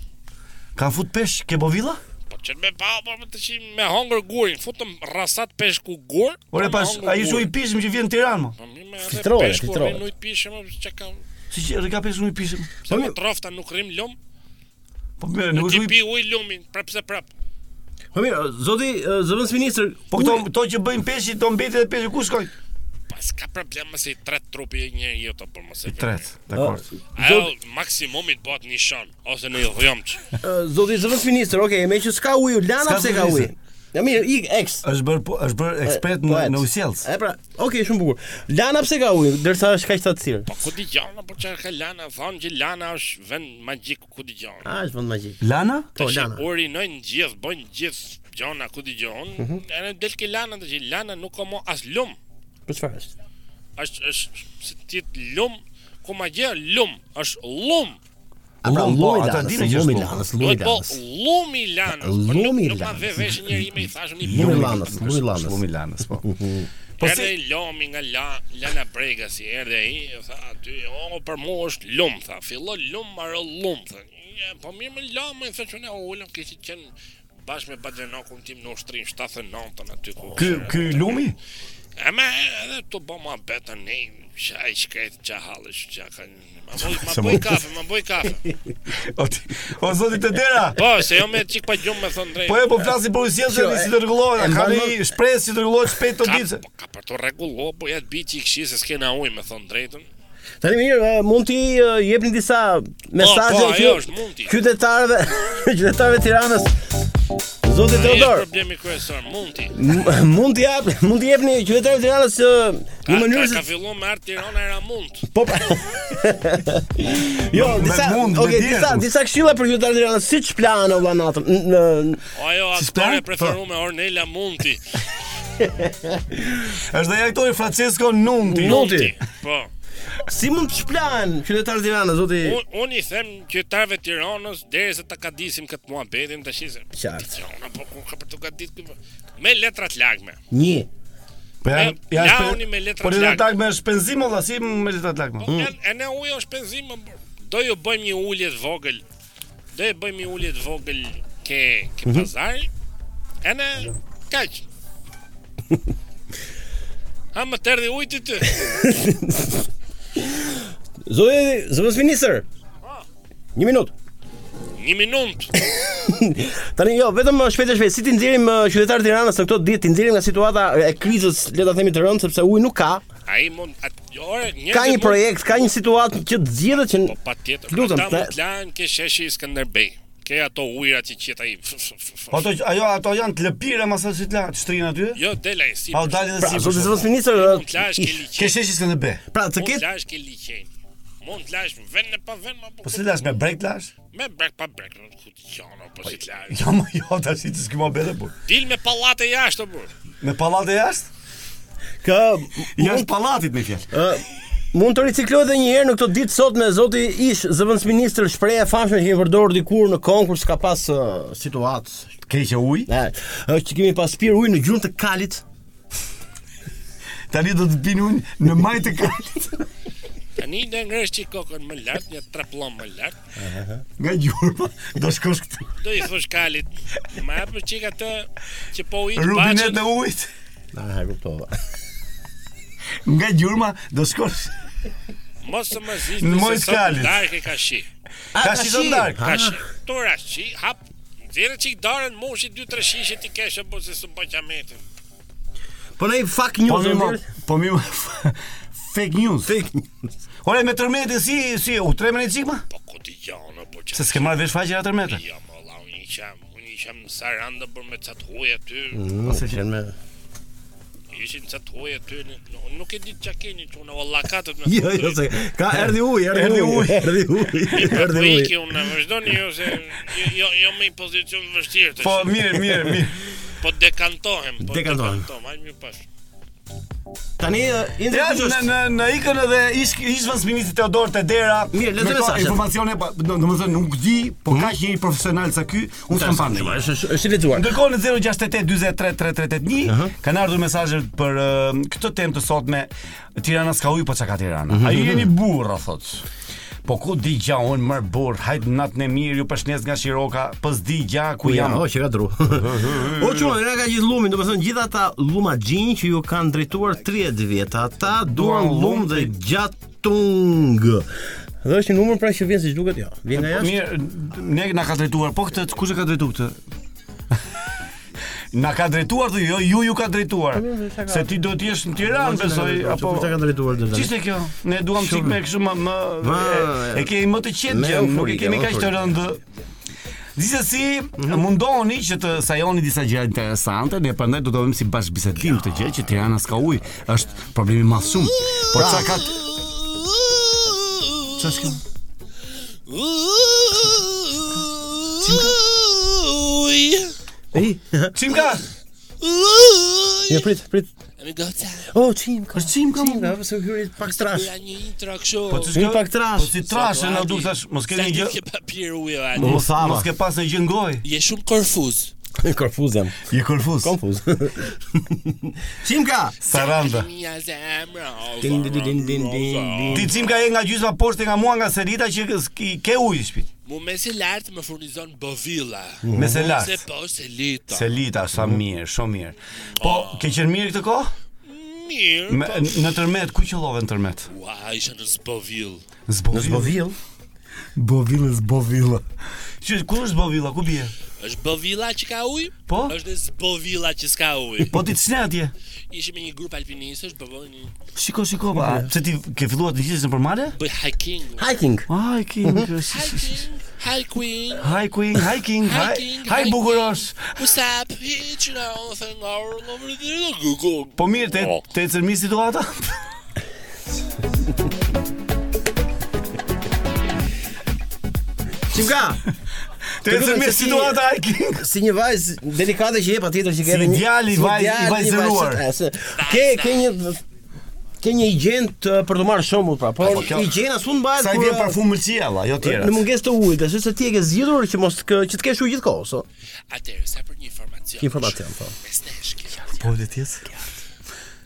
F: Kan fut pesh ke Bovilla?
C: Po që me pa, po më të qim me hongër gurin, futëm rrasat peshku gur. po
F: Ore
C: me
F: pas
C: hongër
F: ai
C: gurin. Po,
F: shu i pishëm që vjen në Tiranë mo.
C: Fitrove, peshku, fitrove. Peshku, rinujt pishëm, që kam,
F: Si që rri ka peshku i pishëm.
C: se më trofta nuk rrim lum,
F: Po mirë,
C: nuk
F: Po, nuk
C: ti
F: është
C: pi uj lumin, prap se prap.
K: Po mirë, zoti zëvendësministër,
F: Po këto këto që bëjnë peshqi, to mbetet edhe peshqi ku shkojnë?
C: Pas ka Po, problem mëse i tret trupi e një jetë, apo mëse...
F: Tret, dakor.
C: Ajo maksimumit bëhet një shon, ose në dhjomç.
K: Ë, Zoti zëvendësministër, okay, me që s'ka ujë, lana
F: S'ka
K: pse ka ujë.
F: zëvendësministër.
K: Ja mirë, ik ex.
F: Është bër po- është bër ekspert në
K: poet.
F: në usjellës.
K: E pra, okay, shumë bukur. Lana pse ka ujë, derisa është kaq thatësirë.
C: Ku di gjana, po që ka lana, thonë që lana është vend magjik ku di gjana.
K: A, është vend magjik.
F: Lana?
K: Ah, Po, lana.
C: Urinojnë gjithë, bëjnë gjithë gjona ku di gjon.
K: Mhm.
C: Edhe del ke lana, tash lana nuk ka mo as lum.
K: Për Po, çfarë është?
C: Është është si ti lum, ku ma gjë lum, është lum.
K: A pra,
F: Lum, po,
K: lloj
F: ata
K: lanës,
F: dinë që është
K: llomi
F: lum.
K: lanës, llomi
C: Duhet po
K: lanës.
C: lumi lana.
K: Lumi
C: Nuk ma
K: lanës.
C: ve vesh njëri me i thashun i
K: Lumi lanës, lumi lanës.
F: Lumi lanës, po.
C: Po erdhe i lomi nga la, Lana Brega si erdhe ai, e tha aty, "O, për mua është lum", tha. Fillo lum, marrë lum, tha. "Ja, Po mirë më la, më thënë çunë, o ulëm kishte qenë bashkë me Badrenokun tim në ushtrin 79-ën aty ku.
F: Ky ky lumi?
C: E me edhe të bo ma betë ne, që a i shkret, që a halësh, që a ka... Ma boj, ma
F: Se
C: boj
F: mo-
C: kafe, ma boj kafe.
F: O ti, o zoti të dera.
C: Po, se jo me qik pa gjumë me thënë drejtë.
F: Po e po flasim për usjellës
C: Qo,
F: dhe
C: e-
F: si të rregullohen,
C: e
F: ka
C: mbanon-
F: një shpresë që të rregullohet shpejt të
C: Ka-
F: ditë.
C: po, Ka për të regullo, po ja të bi qik shi se s'kena uj me thënë drejtën.
K: Tani mirë, e, mund ti e, jepni disa mesazhe
C: po, ajo është, mund ti.
K: qytetarëve, qytetarëve të Tiranës. Zoti
C: Ai është
K: Teodor,
C: problemi kryesor, mund ti.
K: m- mund t'i jap, mund t'i jepni qytetarëve të Tiranës e, në mënyrë
C: Ka
K: se
C: filluar me art Tirana era mund.
K: Po pra. jo,
C: Me- me
K: disa,
C: mund, me
K: okay,
C: dihet.
K: disa, Jo, disa këshilla për qytetarët e Tiranës, siç planë vëlla natën. N- n-
C: Po, Ajo
K: Si po.
C: aktore
K: s'plan?
C: preferume Ornella Munti.
F: Është dhe aktori Francesco Nunti.
K: Nunti.
C: Po.
K: Si mund të shplan qytetarët e Tiranës, zoti?
C: Un, unë i them qytetarëve të Tiranës derisa ta kadisim këtë muhabetin tash se.
K: Qartë.
C: Tirana po ku ka për të gadit kë me letra të lagme.
K: Një.
F: Po ja,
C: Me-
F: ja
C: ja
F: shpe-
C: uni me Mm. letra
F: Po letra
C: t'lakme.
F: tak me shpenzim olla si me letra tak. mo?
C: E, Po, e ne ujo është penzim, më bërë. do ju bëjmë një ulje të vogël. Do ju bëjmë një ulje të vogël ke ke
K: Mhm.
C: pazar. E ne kaq. Ha më tërdi ujti ty
K: Zoti, zëvendësministër. Një minutë.
C: Një minut
K: Tani jo, vetëm uh, shpejt e shpejt, si ti nxjerrim uh, qytetarët e Tiranës në këto ditë, ti nxjerrim nga situata e krizës, le ta themi të rëndë, sepse uji nuk ka.
C: Ai mund atë ore njerëzit
K: Ka një
C: mund-
K: projekt, ka një situatë që të zgjidhet që
C: Po patjetër.
K: Lutem,
C: ata mund të lanë ke sheshi Skënderbej. Ke ato ujëra që qet ai. f- f- f- f-
F: Po ato ajo ato janë të lëpira mas sa të lahet shtrin aty?
C: Jo, del ai si.
F: Pa u dalin
K: Pra,
F: si.
K: zoti zëvendësministër,
C: Mund të lash ke liçen.
F: Ke sheshis kanë be.
K: uh, Pra, të
C: Mund të lash ke liçen. Mund të lash vend në pa vend ma
F: Po si lash me break lash?
C: Me brek pa brek në ku të qano, po si të lash.
F: Jo, ma jo, tash ti s'kemo bele po.
C: Dil me pallate jashtë burr.
F: Me pallate jashtë?
K: Ka
F: jashtë pallatit me fjalë.
K: Ë mund të riciklohet edhe një herë në këto ditë sot me zoti ish zëvendësministër shprehje e famshme që kemi përdorur dikur në konkurs ka pas uh, situatë
F: keqe ujë.
K: Ë, është që kemi pas pirë ujë në gjurmë të kalit.
F: Tani do të pinë ujë në majtë të kalit.
C: Tani do ngresh çik kokën më lart, një traplom më lart.
F: Nga gjurma do shkosh këtu.
C: Do i thosh kalit, më hap çik atë që po u i
F: Rubinet në ujit.
K: Na, e kuptova.
F: Nga gjurma do shkosh.
C: Mos të më zisë
F: Në mojë skalit.
C: Darkë ka shi
F: A, Ka ka shi sot shi? darkë?
C: Ka
F: Ah.
C: shi Tora shi Hap Zire qik darën moshi 2-3 shishe ti keshe Po se së bëqa metin
K: Po ne fake
F: Po
K: news.
F: mi mo,
K: zoti.
F: po mi mo, fake news. Fake news. Ore me tërmete si si u tremën e çikma?
C: Po ku ti gjano po që
F: Se s'ke marrë vesh faqe atë tërmete.
C: Ja më la unë i qam Unë i qam në sarandë Për me catë huaj aty
K: Mm, Ose që me
C: Ishin catë huaj aty në- në- Nuk e ditë që keni që unë Valla katët me
K: Jo, jo, se ka erdhi uji, erdhi uji, erdhi uji,
C: Po
K: erdhi
C: iki
K: uji.
C: unë vazhdoni ju se jo- jo jo me një pozicion të vështirë. tash.
K: Po, mirë, mirë, mirë.
C: Po dekantohem, po
K: Dekantohem.
C: dekantohem, hajde mirë pas.
K: Tani Indri
F: ja,
K: kush
F: në
K: është?
F: në në ikën edhe ish ish vans ministri Teodor Tedera.
K: Mirë,
F: me
K: lezoj
F: këto
K: mesazhet.
F: Informacione, pa- do do të thënë nuk di, po ka që një profesional sa ky, unë s'kam parë. ndonjë.
K: Është është i lexuar.
F: Ndërkohë në 0682033381 kanë ardhur mesazhe për uh, këtë temë të sotme. Tirana s'ka ujë, po çka ka Tirana.
R: Mhm.
F: Ai jeni burra thot. Po ku di gja unë mër burr, hajt natën e mirë ju përshnes nga Shiroka, po s'di gja ku jam.
K: O, që ka dru. O çuna, na ka gjithë lumin, domethënë gjithë ata lumagjin që ju kanë drejtuar 30 vjet, ata duan lum dhe gjatung. Dhe është një numër pra që vjen siç duket, jo. Vjen nga
F: Po
K: jashtë.
F: mirë, ne na ka drejtuar, po këtë kush e ka drejtuar këtë? Na ka drejtuar thotë, jo, ju ju ka
K: Po,
F: drejtuar. Se ti do të jesh në Tiranë, besoj, apo
K: Kush e ka drejtuar deri tani?
F: Çishte kjo? Ne duam
K: Shumë.
F: sik me kështu më më
K: Ma,
F: e, e kemi më të qetë gjë, nuk
K: me
F: e
K: euforike,
F: kemi kaq të
K: euforike.
F: rëndë. Gjithsesi, mundohuni që të sajoni disa gjëra interesante, ne prandaj do të vëmë si bash bisedim këtë gjë që Tirana s'ka ujë, është problemi më shumë. Po çka ka Çfarë s'ka?
K: Ej,
F: Çimka?
K: Ja prit, prit.
C: Në gota.
K: O, çimka.
F: Është çimka.
K: Çimka, pse hyri pak trash.
C: Ja një intro kështu.
K: Po, ti s'ka- Hyri pak trash.
F: Po si trash, e na duk thash, mos keni
C: Sa ti
F: gjë-
C: Ke papir ujë atë.
F: Mos mos ke pas në gjë ngoj.
C: Je shumë korfuz.
K: Konfuz jam.
F: Je konfuz.
K: Konfuz. Çimka.
F: Saranda.
C: Mia zemra.
K: Din din din din din.
F: Ti cim ka e nga gjysma poshtë nga mua nga Serita që ki- ke ujë në shtëpi.
C: Mu me se lartë më furnizon bovilla.
F: Mhm. Me se lartë.
C: Se po se lita.
F: Selita, sa mirë, shumë mirë. Po, ke qenë mirë këtë kohë?
C: Mirë.
F: Me, në tërmet, ku qëllove në tërmet?
C: Ua, isha në zbovill.
F: Zbovill.
C: Në Zbovill?
F: Bovilla, zbovilla. Që, ku është zbovilla, ku bje?
C: është bovilla që ka ujë?
F: Po.
C: Është dhe zbovilla që s'ka ujë.
F: Po ti të shne atje?
C: Ishim me një grup alpinistësh, po bëvoni
F: Shiko, shiko, pa, pse Po, ti ke filluar të gjithës në përmale?
C: bëj hiking.
K: Hiking.
F: Hiking.
C: Hi Queen.
F: Hiking, hiking, hi- hi bukurosh.
C: What's up? It's you know, thing all over the Google.
F: Po mirë, te, te cërmi situata?
K: Çimka.
F: Te ecën mirë situata, hiking.
K: Si një vajzë delikate që je patjetër që ke
F: Si
K: edhe një-
F: djali i vajz- i
K: djali
F: vajzëruar.
K: e, se- Ke ke një ke një higjent ë, për të marrë shembull pra, por
F: Po, kjo-
K: higjiena s'u mbahet
F: Sa i
K: kur,
F: vjen
K: ë,
F: parfum mëlçia, valla, jo tjera.
K: Në mungesë të ujit, është se ti e ke zgjedhur që mos të, që të kesh ujë gjithkohës, o?
C: Atëherë, sa për një informacion.
K: Informacion, po.
C: Mes nesh, kjo.
F: Po le të jetë.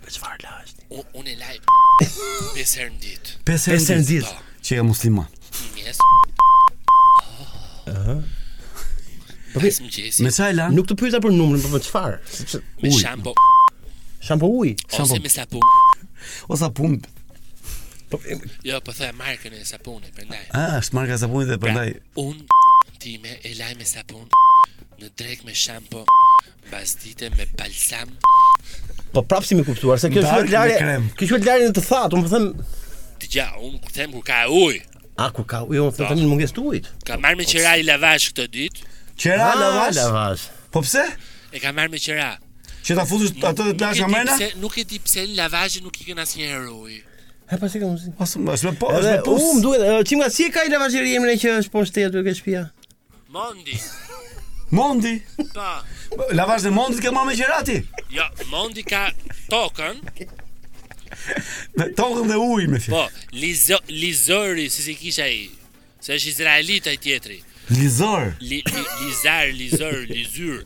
C: Me çfarë lash? Unë e laj 5 herë në ditë.
F: Pesë herë në ditë që je musliman.
C: Një mes.
F: Ëh.
K: Po
C: vi- Pas mëngjesi.
F: Me çaj lan?
K: Nuk të pyeta për numrin, po për çfarë? Sepse-
C: Me
K: Ujë.
C: shampo.
K: Shampo uji.
C: Ose me sapun.
F: O sapun.
K: po
C: Jo, po the markën e sapunit, prandaj.
F: Ah, është marka e sapunit dhe prandaj
C: Unë Pra, time e laj me sapun, në drek me shampo, bazdite me balsam.
K: Po prapë si më kuptuar se kjo
C: Dark
K: është larje.
C: me krem.
K: Kjo është larje në të thatë, unë po them,
C: Dëgja, unë kur them kur ka ujë,
K: a ku ka, jo, unë po them në mungesë të ujit.
C: ka marrë me qera i lavash këtë ditë.
K: Ah, lavash.
F: Po pse?
C: E ka marrë me qera.
F: Që ta futesh atë të lash nga mrena?
C: Nuk e di pse në lavazhe nuk i kanë asnjëherë ujë.
K: Ha pasi kam mundsi.
F: Pas më është me po,
K: Edhe
F: është me po.
K: u më duhet, e, çim nga si e ka i lavazheri emrin që është po poshtë aty ke shtëpia?
C: Mondi.
F: Mondi.
C: Pa.
F: Lavazh e Mondit ke mamë qerati.
C: Jo, Mondi ka tokën,
F: Me tokën dhe ujë me fjalë.
C: po, lizo, Lizori, si si kisha i, se është Izraelit ai tjetri.
F: Lizor.
C: Li, li, lizar, Lizor, Lizyr.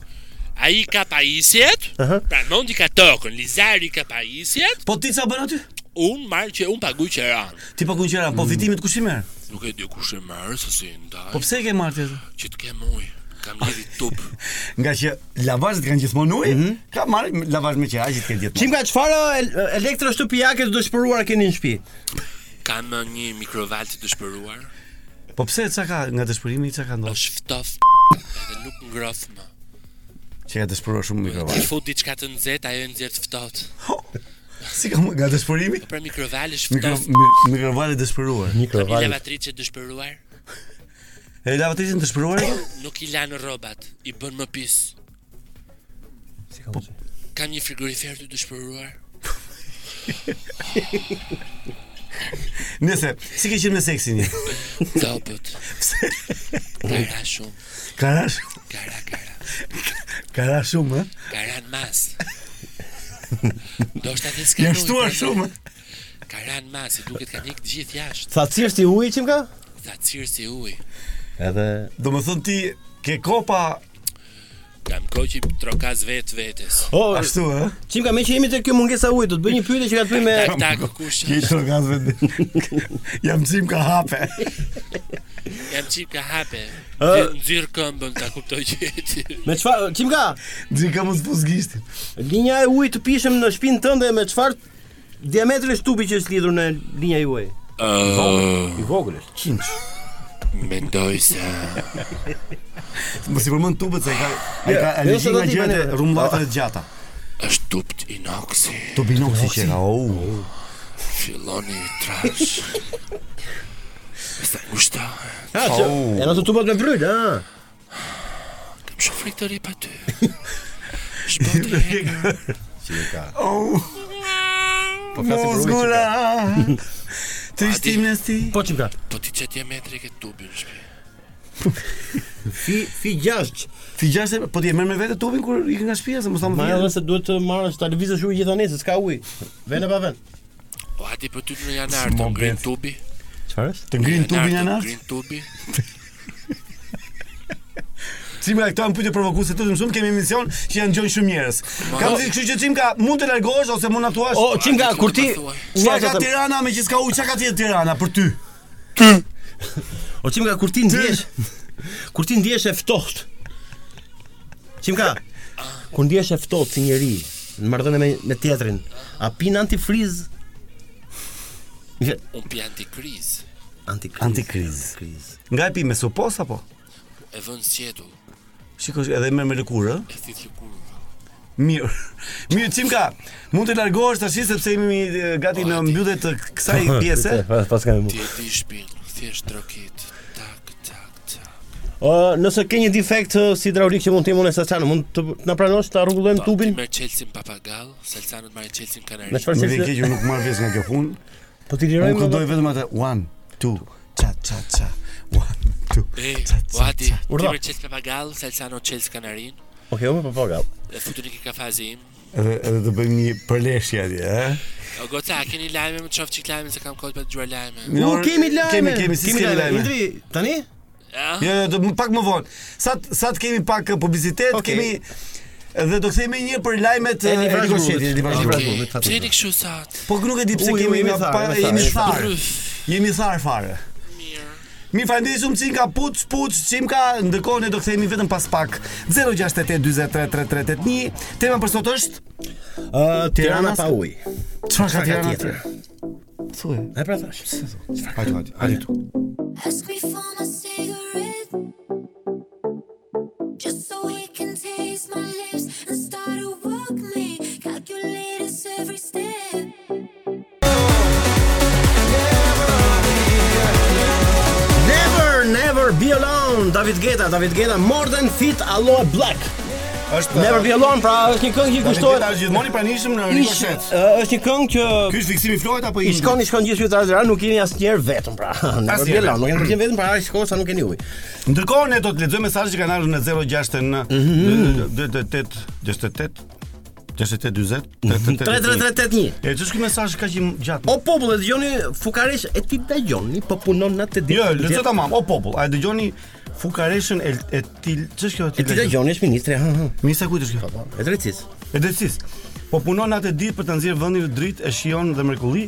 C: Ai ka pajisjet, pra Mondi ka tokën, Lizari ka pajisjet.
F: Po ti çfarë bën aty?
C: Un marr që un paguaj qeran.
F: Ti po kunqera, po fitimet kush i merr?
C: Nuk e di kush e merr se si e ndaj.
F: Po pse e ke marrë ti atë?
C: Që të kem ujë. Kam lidhi tup.
F: Nga që lavazhet kanë gjithmonë ujë, ka marrë lavazh me qera që të kenë gjithmonë.
K: Çim nga çfarë e- elektro shtëpiake të dëshpëruara keni në shtëpi?
C: Kam eh, një mikrovalë të dëshpëruar.
F: Po pse çka ka nga dëshpërimi çka ka ndodhur?
C: Është ftof. Edhe nuk ngroh më.
F: Që ka dëshpëruar shumë
C: Ti
F: mikrovalë.
C: fut diçka të nxehtë, ajo e nxjerr të ftohtë.
F: Si ka nga dëshpërimi?
C: Pra mikrovalë është
F: Mikro
C: ftoft.
F: mi- mikrovalë dëshpëruar.
C: Kam një lavatrice dëshpëruar.
F: E lavatricën dëshpëruar? e ka?
C: Nuk i lanë rrobat, i bën më pis. Kam një frigorifer të dëshpëruar.
F: Nëse, si ke qenë me seksin? je?
C: Dobët.
F: Pse?
C: Kara shumë.
F: Kara shumë.
C: Kara, kara.
F: Kara shumë, ë?
C: Kara në mas. Do shta të
F: Janë shtuar shumë.
C: Kara në mas, i duket ka ikë të gjithë jashtë.
K: Thatësirë si uji çim ka?
C: Tha cirë si uj.
K: Edhe
F: Do më thënë ti ke kopa
C: Kam kohë që i trokas vetë vetës.
K: O,
F: ë?
K: Çim ka më që jemi te kjo mungesa ujit, do të bëj një pyetje që ka të bëjë me
C: Tak, tak, kush?
F: Ke trokas vetë. Jam çim ka hape.
C: Jam qip ka hape.
K: Ë.
C: Nxirë këmbën, ta kuptoj që e ti.
K: Me çfarë çim ka?
F: Di ka mos fuzgishtin.
K: Linja e ujit të pishëm në shtëpinë tënde me çfarë diametri është tubi që është lidhur në linja juaj?
C: Ë.
K: I vogël është. Qinç.
C: Mendoj se...
F: Mos i përmend tubët se ka ai ka
C: Ja,
F: alergji
C: jo, se do
F: nga
C: t'i
F: gjërat e
C: bëni vetë.
F: rrumllata të gjata.
C: është tupt inoksi.
F: Tup inoksi që ka. Oh.
C: Filoni i trash. Sa gushta.
K: Ha, që, e në të tubat me bryl, ha.
C: Kam shumë frikë të ri pa ty.
K: Çim ka?
F: Oh.
C: Po
K: flasim për ujë, Mosgura,
F: ujë. Trishtim në sti.
K: Po çim ka?
C: Po ti çet diametri ke tubi në shtëpi.
K: Fi fi 6.
F: Fi 6, po ti e merr me vete tubin kur ikën nga shtëpia se mos ta
K: Ma edhe
F: mbajë.
K: se duhet të marrësh ta lëvizësh ujë gjithanë, se s'ka ujë. Vene pa ven.
C: Po hati për ty në janar të
K: S'mon
C: ngrin
K: bet.
C: tubi.
K: Çfarë është?
F: Të ngrin tubin
C: të
F: janar?
C: Ngrin tubi.
F: Cimi ka këto pyetje provokuese të shumë kemi emision që janë gjojnë shumë njerëz. Kam thënë, kështu që Cimka mund të largohesh ose mund na thuash.
K: O, Çimka, kur ti-
F: Çfarë
K: Ja,
F: ka
K: të-
F: Tirana me që s'ka ujë, çka ka ti Tirana për ty?
K: O Po çim ka kur ti ndjesh? Kur ti ndjesh e ftohtë. Çim ka? Kur ndjesh e ftohtë si njeri në marrëdhënie me me tjetrin, a pin antifriz? Një-
C: Un pi antikriz.
K: Antikriz.
F: Antikriz. Nga e pi me supos apo?
C: E vën sjetu.
F: Shikosh, edhe merr me lëkurë, ë?
C: E thit që kur.
F: Mirë. Mirë, Cimka, mund të largohesh tash sepse jemi e, gati në mbyllje të kësaj pjese.
K: Pas kanë mu.
C: Ti e di shpin. Thjesht trokit. Tak, tak, tak.
K: O, nëse ke një defekt ë, si hidraulik që mund të jemi unë sa çan, mund të na pranosh ta rregullojmë
C: Po,
K: tubin?
C: Ti merr Chelsea papagall, Salsanut marr Chelsea kanari.
K: Me çfarë
F: Më
K: Chelsea?
F: vjen keq, unë nuk marr vjes nga kjo punë.
K: Po ti lirojmë.
F: Unë këndoj vetëm atë one, two, cha cha cha. One, two.
C: Ej,
F: cha,
C: po
F: cha,
C: hati.
F: cha.
C: Ti merr Chelsea papagall, Salsanut Chelsea kanarin.
K: Okej, unë po po gal.
C: E futën i ke kafazi im.
F: Edhe edhe të bëjmë një përleshje atje, ë?
C: O goca, a keni lajme më qoftë çik lajme se kam kohë për të dëgjuar lajme.
F: Një orë-
K: kemi lajme.
F: Kemi, kemi, si
K: Kemi
F: kemi
K: lajme.
F: lajme.
K: Indri, tani?
C: Ja.
F: Jo, jo, do më- pak më vonë. Sa t- sa të kemi pak eh, publicitet, kemi dhe do kthehemi një herë për lajmet eh,
K: Eli Vrazhgulit.
F: Rikosheti, Eli Vrazhgulit.
K: Okej.
C: Pse jeni kështu sot?
F: Po nuk e di pse
K: U,
F: kemi
K: jemi
F: nga
K: tharë,
F: pa
K: jemi
F: jemi
K: tharë.
F: thar.
C: Shpërryf.
F: Jemi thar fare. Mi falenderit shumë Cinka Puc, Puc, Cinka, ndërkohë ne do kthehemi vetëm pas pak. 068 43 3381. Tema për sot është
K: Ë, Uh, Tirana pa ujë.
F: Çfarë ka Tirana
K: tjetër?
F: Thuaj.
K: E pra thash.
F: Hajde, hajde, hajde tu.
S: Ask me for my cigarette.
T: just so he can taste my lips and start to walk me. Calculate his every step.
K: Never, never be alone. David Guetta, David Guetta More than Fit Aloe Black.
F: Është
K: Never be alone, pra është një këngë që
F: David
K: kushtohet.
F: Guetta është gjithmonë i pranishëm në
K: Ish-
F: rikoshet.
K: ë, Është një këngë që
F: Ky është fiksimi i Florit apo
K: i
F: i
K: shkon i shkon gjithë qytetarët e Tiranës, nuk jeni asnjëherë vetëm pra. Never be
F: Asnjëherë.
K: alone, nuk jeni përgjithë vetëm pra, as kohë sa nuk keni ujë.
F: Ndërkohë ne do të lexojmë mesazhet që kanë ardhur në 069 48 68 68 40
K: 3381.
F: E ç'është ky mesazh kaq i gjatë?
K: O popull, e dëgjoni fukaresh e ti dëgjoni, po punon natë ditë.
F: Jo, lezo tamam, o popull, a e dëgjoni fukareshën e e til, ç'është kjo?
K: E ti dëgjoni, është ministri, ha ha.
F: Ministra kujt është kjo?
K: E drejtësisë.
F: E drejtësisë. Po punon atë ditë për ta nxjerrë vendin në dritë, e shijon dhe mrekulli,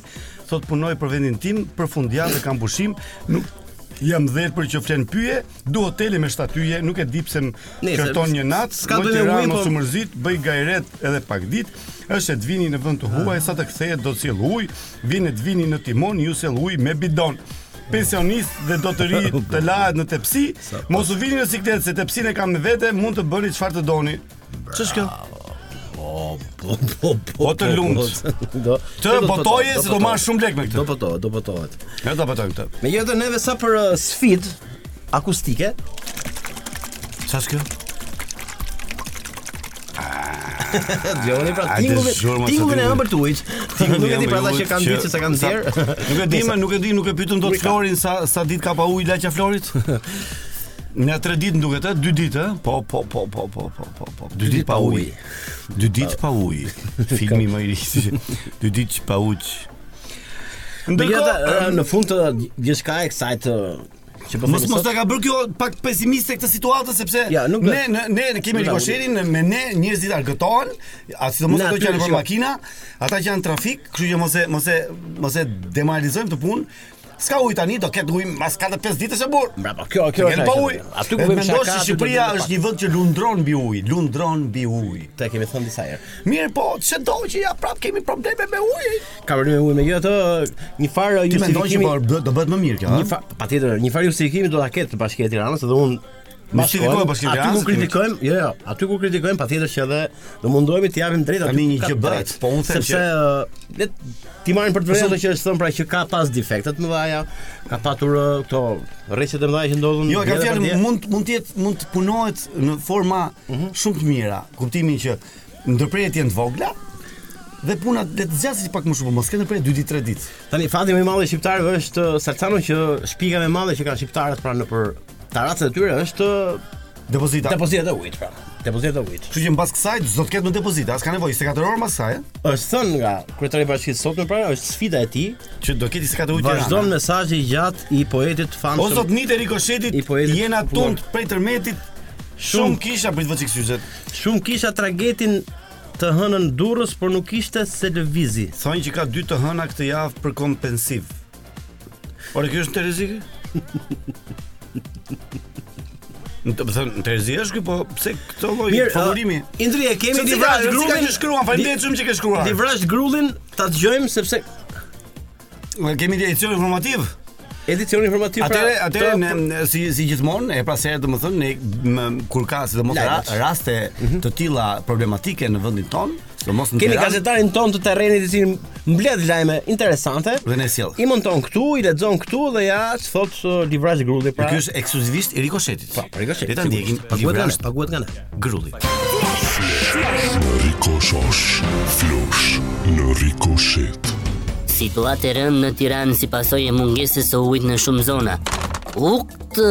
F: thot punoj për vendin tim, për fundjavë dhe kam pushim, nuk jam dhëtë për që flen pyje, du hoteli me shtatyje, nuk e di pse më
K: Nëse,
F: kërton një natë, s'ka
K: s'ka bëj me
F: të
K: ujin,
F: rënë
K: po-
F: mos u mërzit, bëj gajret edhe pak ditë, është e të vini në vend të huaj, sa të kthehet do të sjell ujë, vjen e të vini në timon, ju sjell ujë me bidon pensionist dhe do të ri të lahet në tepsi, mos u vini në siklet se tepsin e kam me vete, mund të bëni çfarë të doni. Ç'është kjo?
K: Po, po, po, po.
F: O të lumt.
K: Do.
F: Të botoje se do marr shumë lek me këtë.
K: Do botohet, do botohet.
F: Ja ta botojmë këtë.
K: Megjithatë neve sa për uh, sfid akustike.
F: Çfarë është kjo?
K: Dëgjoni pra
F: Hajde,
K: tingullin,
F: zhurmë, sa
K: tingullin e
F: tingull.
K: ëmbël të ujit.
F: Tingull
K: Nuk e
F: jam
K: di
F: i
K: për ata
F: ujit
K: që kanë ditë se kanë
F: sa-
K: nxjerr.
F: Nuk e di,
K: Nëse-
F: më nuk e di, nuk e pyetëm dot
K: Nuk e ka.
F: Florin sa sa ditë ka pa ujë laqa Florit. Në 3 ditë duket, ë, 2 ditë, ë? Po, po, po, po, po, po, po, po. 2 ditë pa ujë. 2 ditë pa ujë. Filmi më i ri. 2 ditë pa ujë.
K: Megjithatë në fund të gjithçka e kësaj të që po
F: Mos
K: themi
F: mos
K: sot-
F: ta ka bërë kjo pak pesimiste këtë situatë sepse
K: Ja, nuk do-
F: ne ne ne ne kemi
K: Nuk do-
F: rikosherin me ne njerëzit argëtohen, a sidomos
K: Na,
F: ato që janë
K: aty
F: për
K: shiko.
F: makina, ata që janë në trafik, kështu që mos e mos e mos e demoralizojmë të punë. S'ka ujë tani, do ketë ujë mas 4-5 ditësh e burr.
K: Bravo, kjo kjo
F: Gjen pa ujë.
K: Aty ku
F: Edhe
K: vëmë
F: mendosh
K: shaka.
F: se
K: aty do
F: Shqipëria
K: të
F: është
K: pak.
F: një vend që lundron mbi ujë, lundron mbi ujë.
K: Te kemi thënë disa herë.
F: Mirë po, çdo që ja prap kemi probleme me ujin.
K: Ka vënë ujë megjithatë një farë
F: Ti mendon që
K: justifikimi.
F: po bë- do bëhet më mirë kjo,
K: Një fa, patjetër, një farë justifikimi do ta ketë Bashkia e Tiranës dhe unë
F: Ne
K: bashkojmë,
F: kritikojmë Bashkinë e
K: Aty
F: Tiranës,
K: ku kritikojmë, jo, jo, aty ku kritikojmë patjetër që edhe do mundohemi të japim drejt aty.
F: Tani një
K: ku ka
F: gjë bëhet,
K: drejt.
F: po unë them
K: sepse ë, le t- ti marrin për të vërtetë ato që është thënë pra që ka pas defekte të mëdha, ka patur ë, këto rreqe të mëdha që ndodhin.
F: Jo, e kam
K: vjedhje
F: fjalën
K: partije.
F: mund mund të jetë mund të punohet në forma shumë të mira, kuptimin që ndërprerjet janë të vogla dhe puna le të zgjasë pak më shumë, mos ke ndërprerje 2 ditë 3 ditë.
K: Tani fati më i madh i shqiptarëve është ë, Salcano që shpika më e madhe që kanë shqiptarët pra në për taracët e tyre është uh, ë,
F: Depozita.
K: Depozitat e ujit pra. Depozitat e ujit.
F: Kështu që mbas kësaj do të ketë më depozita, as ka nevojë 24 orë mbas kësaj, eh? ë?
K: Është thënë nga kryetari i bashkisë sot më para, është sfida e tij
F: që do ketë 24 orë.
K: Vazhdon mesazhi i gjatë i poetit famshëm.
F: O zot nit e rikoshetit,
K: i poetit
F: jena
K: popullor.
F: tund prej tërmetit,
K: Shumë.
F: shumë kisha prit vëçik syzet.
K: Shumë kisha tragetin të hënën Durrës, por nuk ishte se lëvizi.
F: Thonë që ka dy të hëna këtë javë për kompensiv. Ore kjo është në Terezi? kjo? Në të thënë, në Terezi është ky, po pse këto lloj
K: Mirë, uh,
F: favorimi?
K: ë, Indri e kemi
F: Se si
K: Divrazh
F: ka- si ka
K: grullin.
F: që shkruan, faleminderit
K: Di-
F: shumë që ke shkruar.
K: Divrazh grullin ta dëgjojmë sepse
F: Ne kemi edicion informativ.
K: Edicion informativ pra,
F: Atëre, atëre
K: të-
F: ne ne- si si gjithmonë, e pra se domethënë ne më- kur ka sidomos ra-
K: Lajmet.
F: raste të tilla problematike në vendin ton, sidomos në
K: Mhm. Kemi
F: Tiranë,
K: gazetarin ton të terrenit i cili mbledh lajme interesante.
F: dhe ne sjell.
K: I monton këtu, i lexon këtu dhe ja thot uh, Livrazh Grulli pra.
F: Ky është ekskluzivisht i Rikoshetit. Po,
K: për Rikoshetin,
F: Le ta ndjekim
K: sigurisht. Paguhet nga ne,
F: Livrazh
K: paguhet nga ne.
F: Grulli.
B: Rikoshosh Flosh në rikoshet
J: Situatë e rëndë në Tiranë si pasojë e mungesës së ujit në shumë zona. U këtë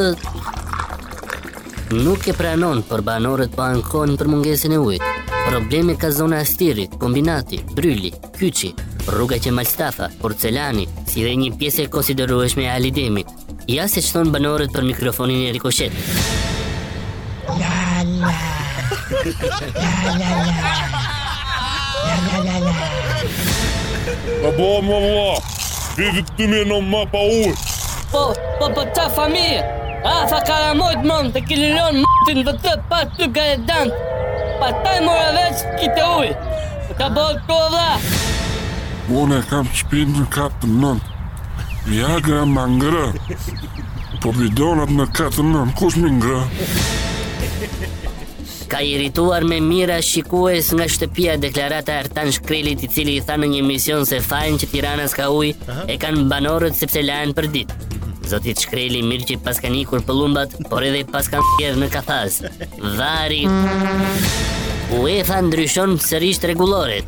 J: nuk e pranon për banorët po ankohen për mungesën e ujit. Probleme ka zona e Stirit, Kombinati, Bryli, Kyçi, rruga që Malstafa, Porcelani, si dhe një pjesë e konsiderueshme e Alidemit. Ja se që thonë banorët për mikrofonin e rikoshet.
U: La la. La la la. La la la la.
C: Ma bo, ma bo, vidi ti mi në ma pa ujë.
V: Po, po, po, ta familje. A, fa karamojt mëm, të kililon mëtin dhe të pa të garedant. Pa taj mora veç kite uj. Ta bëllë të vla.
W: Unë e kam shpinë në katë nën Viagra më ngrë Po bidonat në katë nën Kush më ngrë?
J: Ka irrituar me mira shikues nga shtëpia deklarata e Artan Shkrelit i cili i tha në një emision se fajnë që Tirana s'ka ujë e kanë banorët sepse lajnë për ditë. Zotit Shkreli mirë që i pas kanë ikur pëllumbat, por edhe i pas kanë kjerë në kafaz. Vari... UEFA ndryshon sërish rregulloret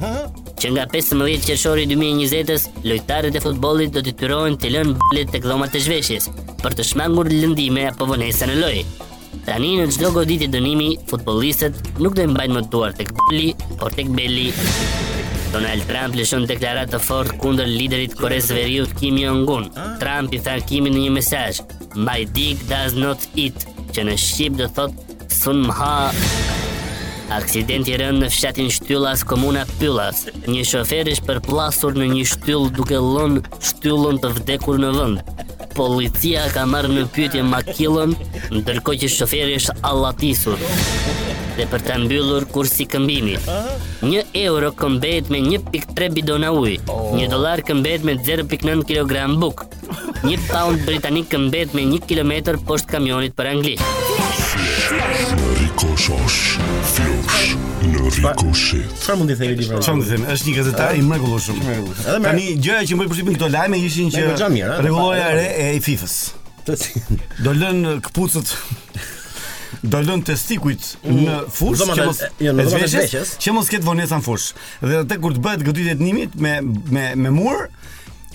J: që nga 15 qershori 2020-s lojtarët e futbollit do detyrohen të lënë blet tek dhomat e zhveshjes për të shmangur lëndime apo vonesa në lojë. Tani në çdo goditë dënimi, futbollistët nuk do të mbajnë më duar tek boli, por tek beli. Donald Trump lëshon deklaratë të fortë kundër liderit Koreas së Veriut Kim Jong-un. Trump i tha Kimit në një mesazh: "My dick does not eat", që në shqip do thotë "sun më ha". Aksidenti rënë në fshatin Shtyllas, komuna Pyllas. Një shofer është përplasur në një shtyllë duke lënë shtyllën të vdekur në vend. Policia ka marrë në pyetje makillën, ndërkohë që shoferi është allatisur dhe për të mbyllur kursi këmbimi. Një euro këmbet me 1.3 bidona uj, një dolar këmbet me 0.9 kg buk, një pound britanik këmbet me 1 km poshtë kamionit për anglisht.
H: Rikoshosh, flosh, në rikoshet.
K: Çfarë mundi themi libra?
F: Çfarë mundi themi? Është një gazetar i mrekullueshëm. Tani gjëja që më përshtypin këto lajme ishin që
K: Merr xhamir, ha?
F: rregulloja e re e FIFA-s. Do lën kputcët do lën testikujt në fushë
K: Dhomat
F: që
K: e-
F: mos
K: jo, në
F: e
K: dhomat e
F: zveshjes,
K: zveshjes.
F: që mos ketë vonesa në fushë. Dhe atë kur të bëhet goditja e nimit me me me mur,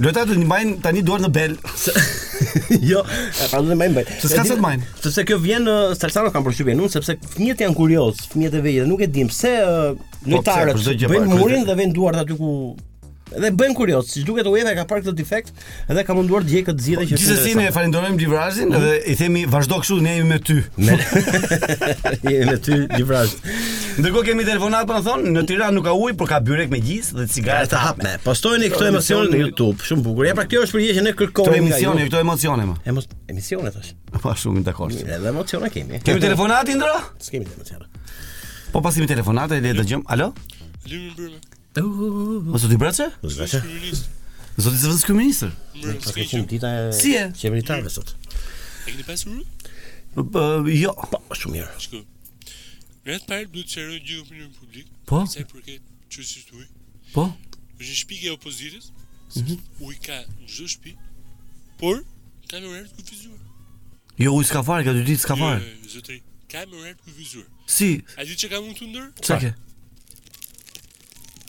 F: lojtarët i mbajnë tani duart në bel.
K: jo, pra do të mbajnë bajt.
F: Se s'ka se të mbajnë.
K: Sepse kjo vjen ë, Salsano kanë përshtypjen unë sepse fëmijët janë kurioz, fëmijët e vegjël, nuk e dim pse ë,
F: Po, pse,
K: lojtarët
F: për çdo gjë,
K: bëjnë
F: po,
K: murin dhe vënë duart aty ku dhe bëjnë kurioz. Siç duket UEFA ka parë këtë defekt dhe ka munduar të gjejë këtë zgjidhje që është
F: Gjithsesi ne
K: interesante.
F: falenderojmë Livrazin dhe i themi vazhdo kështu ne jemi me ty.
K: Jemi me ty Livraz.
F: Ndërkohë kemi telefonat po na thon, në Tiranë nuk ka ujë, por ka byrek me gjisë dhe cigare
K: të hapme. Postojeni këto emocione në YouTube, shumë bukur. Ja pra kjo është përgjigje që ne
F: Këto
K: kërkojmë.
F: emocione, këto emocione më.
K: Emo emocione tash.
F: Po shumë dakord.
K: Mirë, edhe emocione kemi.
F: Kemi telefonati ndra?
K: S'kemi emocione.
F: Po pas kemi telefonata, le të dëgjojmë. Alo?
C: Lymi brëme.
F: Mos u ti braçe?
K: Braçe.
F: Zoti zëvës ky ministër.
C: Brëme,
K: Pas
C: s'ke
K: ka qenë dita e
F: Si e?
K: qeveritarëve sot.
C: E këni pasur?
F: Po, Jo.
K: Po, shumë mirë.
C: Shko. Në atë parë duhet të sharoj gjë opinion publik.
F: Po.
C: Se përket qësisht uj.
F: Po.
C: është një shpik e opozitës. sepse Uj ka në çdo shtëpi, por ka me orar të kufizuar.
F: Jo, ujë s'ka fare, ka dy ditë s'ka fare.
C: Jo, Zotëri, ka me orar të kufizuar.
F: Si?
C: A di që ka mund të ndër?
F: Çfarë ke?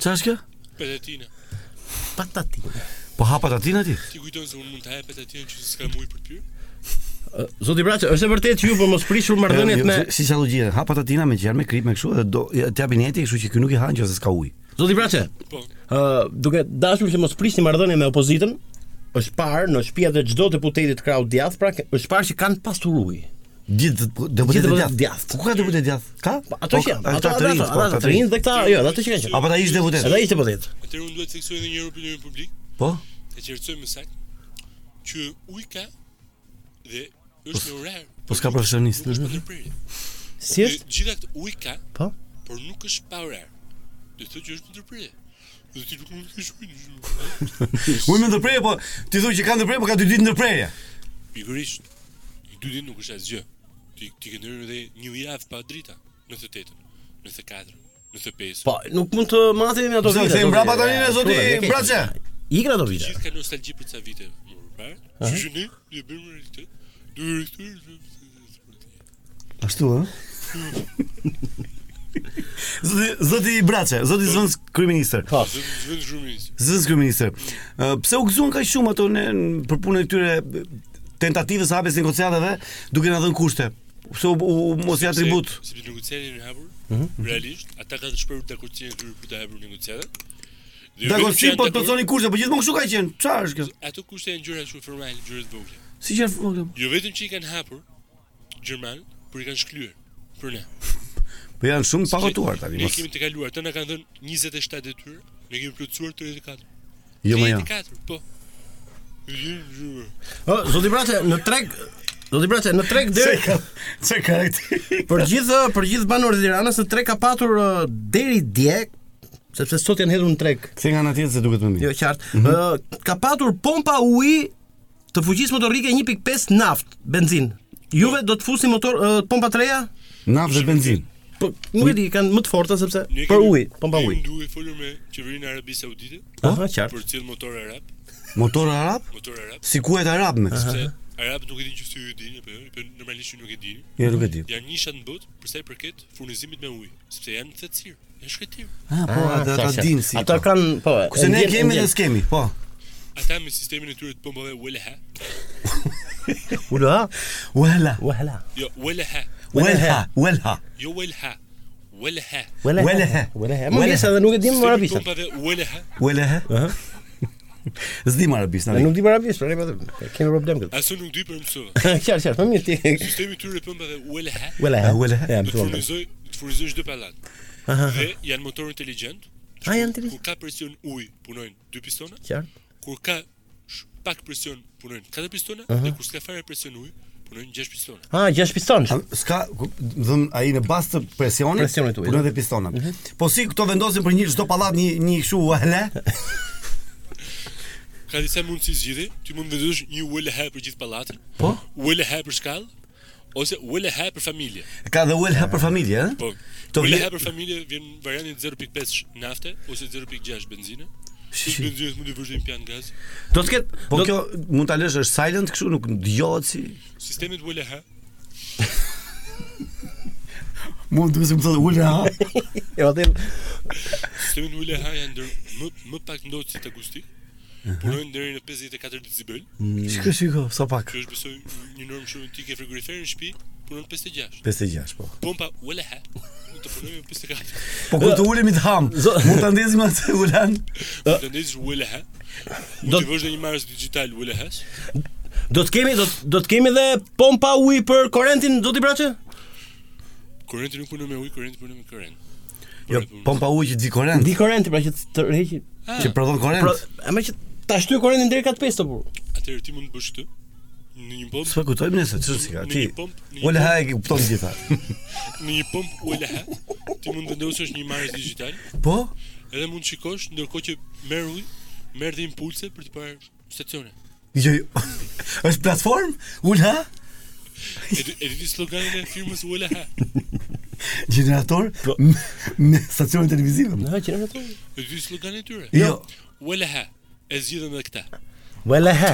F: Çfarë është kjo?
C: Patatina.
K: Patatina.
F: Po hapa tatin aty.
C: Ti kujton se unë mund të haj patatina që s'ka mujë për pyr?
K: Zoti Braçe, është e vërtetë që ju po mos prishur marrëdhëniet me
F: si sallogjia, hapa tatina me gjermë, me krip, me kështu dhe do të japin eti, kështu që ky nuk i han nëse s'ka ujë.
K: Zoti Braçe.
C: Po.
K: Ë, duke dashur që mos prisni marrëdhënie me opozitën, është parë në shtëpiat e çdo deputeti të krahut djathtë, pra ke- është parë që kanë pasur ujë.
F: Gjithë
K: Gjithë
F: deputetë
K: deputetët
F: djathtë. Ku ka deputet djathtë? Ka?
K: Po, ato që janë, ato ato ato, ato të rinë dhe këta, jo, dhe ato që kanë qenë.
F: Apo ta ish deputet.
K: Edhe ishte deputet.
C: Atëherë unë duhet të theksoj edhe një herë opinionin publik.
F: Po.
C: E qertësoj më saktë që uj ka dhe është me orar.
F: Po s'ka profesionist.
K: Si
C: është? Gjitha këtë uj ka,
K: Po.
C: por nuk është pa orar. Do të thotë që është ndërprerje. Dhe ti nuk mund të kesh ujë në shumë.
F: Ujë me ndërprerje, po ti thua që ka ndërprerje, po ka dy ditë ndërprerje.
C: Pikërisht, i dy ditë nuk është asgjë. Ti ti ke ndërryer edhe një javë pa drita, 98-ën, 94-ën, 95-ën.
K: Po, nuk mund të matemi ato
C: Zoti,
K: vite.
C: kthejmë
K: zoti.
C: mbrapa tani ne, zoti
K: Shkruaj, ne ke-
C: Braçe.
K: Ikën ato vite.
C: Gjithë ka nostalgji për ca vite më parë.
K: Aha.
C: Që ne ne bëmë realitet. Do e rikthyer.
F: Ashtu ë? Zoti zoti Braçe, zoti Zvend kryeministër. Po.
C: Zëvend zhurmërisë.
F: Zëz kryeministër, ë, pse u gëzuan kaq shumë ato në në- për punën e tyre tentativës së hapjes negociatave duke na dhënë kushte? Pse u, u mos i atribut?
C: Sepse negociatën e hapur,
F: Mhm.
C: realisht, ata kanë shprehur dakordsinë e tyre për të hapur negociatën. Dhe jo
F: Dakor,
C: vetëm që
F: si
C: janë
F: po të
C: dakord-
F: plotësonin kushte, po gjithmonë kështu ka qenë. Çfarë është kjo?
C: Ato kushte janë gjëra shumë formale, gjëra të vogla.
F: Si që po kjo?
C: Jo vetëm që i kanë hapur gjerman, por i kanë shklyer për ne.
F: Po janë shumë pakotuar tani.
C: Ne
F: Mos.
C: kemi të kaluar, ata na kanë dhënë 27 detyra, ne kemi plotësuar 34.
F: Jo, ma jo.
C: 34, po. Jo,
K: Ë, zoti Braçe, në treg Zoti Braçe, në treg deri
F: çe karakter.
K: Për gjithë për gjithë banorët e Tiranës, në treg ka patur ë, deri dje sepse sot janë hedhur në treg.
F: Kthe nga ana tjetër se duket më mirë.
K: Jo qartë.
F: Mhm.
K: Ë, ka patur pompa uji të fuqisë motorike 1.5 naft, benzinë. Juve do të fusi motor ë, pompa treja?
F: Naftë dhe benzinë.
K: Po nuk e di, kanë më të forta sepse për ujë, po mba ujë.
C: Duhet folur me qeverinë e Arabisë Saudite.
K: Aha, qartë.
C: Për cilë motor arab.
F: Po? Motor arab?
C: Motor arab.
F: Si kuhet arab me?
C: Sepse arabët nuk e dinë që si ju e dinë, apo jo, po normalisht ju nuk e dini.
F: Jo, nuk e di.
C: Janë nishat në botë për sa i përket furnizimit me ujë, sepse janë thellësirë, janë shkretir.
F: Ah, po,
K: Ah,
F: ata
K: qartë,
F: ata dinë si.
K: qartë. Ata kanë, po, e
F: Kurse ne
K: ndjen-
F: kemi
K: ndjen.
F: dhe s'kemi, po.
C: Ata me sistemin e tyre të pompave Welha.
K: Ula.
F: Wela.
K: Wela.
C: Jo, Welha.
F: Welha, welha.
C: Jo Welha. Welha.
F: Welha.
K: Welha. Më ngjes edhe nuk e dim
C: Sistemi
K: arabisht.
C: i Pompave Welha.
F: Welha. Zdi më arabisht,
K: Ne nuk dim arabisht, pra ne po them, kemi problem këtu.
C: Asu nuk dy për mësova.
K: Qartë, qartë, më mirë ti.
C: Sistemi i tyre të pompave Welha.
K: Welha. Ah, Welha. Ja,
C: Do
K: më
C: të
K: thua.
C: furnizoj, të furnizoj çdo pallat.
K: Aha.
C: Dhe janë motor inteligjent.
K: Ah, janë
C: Kur ka presion ujë, punojnë dy pistona.
K: Qartë.
C: Kur ka sh- pak presion, punojnë katër pistona,
K: Aha.
C: dhe kur s'ka fare presion ujë, punojnë gjashtë pistona.
K: Ah, gjashtë piston.
F: S'ka, dhëm ai në bazë të presionit,
K: Presionit ujë.
F: punon edhe pistona. Po si këto vendosin për një çdo pallat një një kështu wele?
C: Ka disa mundësi zgjidhje, ti mund të vendosh një ULH për gjithë pallatin.
F: Po?
C: ULH për shkallë ose ULH për familje.
F: Ka dhe wele për familje, ëh?
C: Po.
F: To
C: ULH
F: vje-
C: për familje vjen në variantin 0.5 nafte ose 0.6 benzine.
F: Shi.
C: Plus benzinës mund të vësh një pian gaz.
F: Do të ketë, po kjo mund ta lësh është silent kështu, nuk dëgohet si
C: Sistemi të ULH
F: mund të më thotë wele.
K: Jo, atë
C: Sistemi në ULH janë ndër më, më pak ndodhë si të akustik
F: Aha.
C: Punojnë deri në 54 decibel
F: Mm. Shiko, shiko, sa pak.
C: Kjo është besoj një normë shumë ti ke frigoriferin në shtëpi Punon 56
F: 56, po.
C: Pompa ULH mund të punoj me 54
F: Po kur të ulemi të ham, mund ta ndezim atë ulan.
C: Mund të ndezësh ULH Mund të vësh dhe një marës digital ULH-s
K: Do të kemi do do të kemi edhe pompa uji për korrentin do ti pra braçë?
C: Korrenti nuk punon me ujë, korrenti punon me korrent
F: Jo, pompa ujë që di korrent.
K: Di korrenti pra që të- të rreqi.
C: Ah.
F: Që prodhon korrent.
K: Pra, më që ta shtyr korrentin deri kat 5 topur.
C: Atëherë ti mund të bësh këtë Në një pompë
F: S'po kuptojmë nëse ç'është si ka.
C: Në
F: Ti
C: një pomp, në një
F: wele
C: pomp.
F: e kupton gjitha.
C: Në një pomp ULH Ti mund të vendosësh një marës digital
F: Po?
C: Edhe mund të shikosh ndërkohë që merr ujë, merr dhe impulse për të parë stacione.
F: Jo, jo. Është platform? Ula?
C: E di- e di sloganin e firmës ULH.
F: Generator me, me stacionin televizive.
K: Na, generator.
C: E di sloganin e tyre.
F: Jo.
C: ULH. E zgjidhën edhe këtë.
K: Wala ha.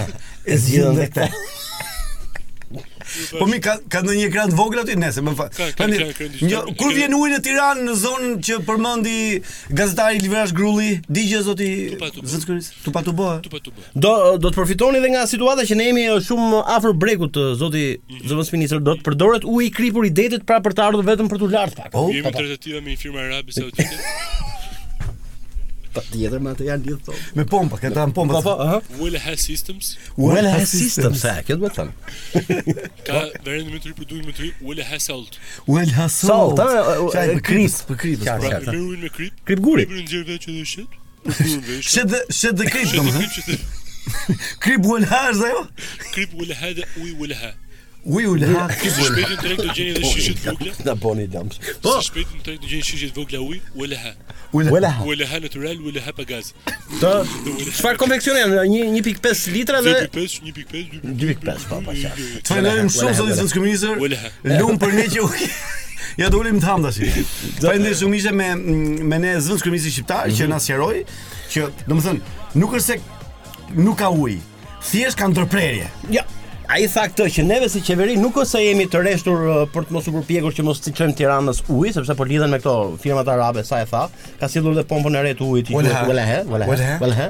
F: E zgjidhën dhe këta. Po mi ka ka ndonjë ekran të vogël aty nëse më fal.
C: Ka- ka
F: Tani,
C: ekran- ekran
F: një
C: digital.
F: kur vjen ujë në Tiranë në zonën që përmendi gazetari Livrash Grulli, digje zoti Zotkuris, tu pa tu eh? bë. Tu
C: pa tu bë.
K: Do do të përfitoni edhe nga situata që ne jemi eh, shumë afër brekut eh, zoti zëvendës ministër do të përdoret uji i kripur i detit pra për të ardhur vetëm për t'u lartë pak.
C: Jemi në tentativa me një firmë arabe saudite.
K: Patjetër me atë janë lidh thonë.
F: Me pompa, këta janë pompa.
K: Po po, aha.
C: ULH Systems.
K: Wala ha system
F: eh.
K: sa, kjo do të them.
C: Ka variantin më të ri për duhet më të ri ULH Salt. Pra,
F: Well hasol.
K: Salt, a, a, a,
F: Çaj
K: e,
F: për kripës, për kripës.
K: Qartë,
F: po.
K: qartë.
C: Me ujin me krip.
K: Krip guri.
C: Kripën nxjerr vetë që do shet.
F: Shet dhe shet dhe krip domethënë. Krip ul hash ajo?
C: Krip ULH dhe uj ULH.
F: Uj ul hash.
C: Krip ul Shpejtin direkt do gjeni dhe shishet vogla.
K: Na boni lëmsh.
C: Po. Shpejtin direkt do gjeni shishet vogla uj ULH.
K: Wala ha.
C: ULH natural, ULH pa gaz.
K: Do çfarë konfeksioni janë? Një 1.5 litra dhe
C: 1.5, 1.5,
K: 2.5 pa pa qartë.
F: Të falenderojmë shumë zotë zotë këmizër Lumë për ne që uj Ja do ulim të ham tash. Falenderoj shumë ishte me me ne zëvendës krymisi shqiptar që na sqaroi që domethënë nuk është se nuk ka ujë. Thjesht ka ndërprerje.
K: Ja. Ai tha këtë që neve si qeveri nuk ose jemi të rreshtur uh, për të mos u përpjekur që mos të çojmë Tiranës ujë, sepse po lidhen me këto firmat arabe sa e tha, ka sillur dhe pompën e re të ujit. i
F: Wala
K: quhet
F: ha.
K: Wala he, wala
F: Wala
K: he,
F: ha.
K: wala he.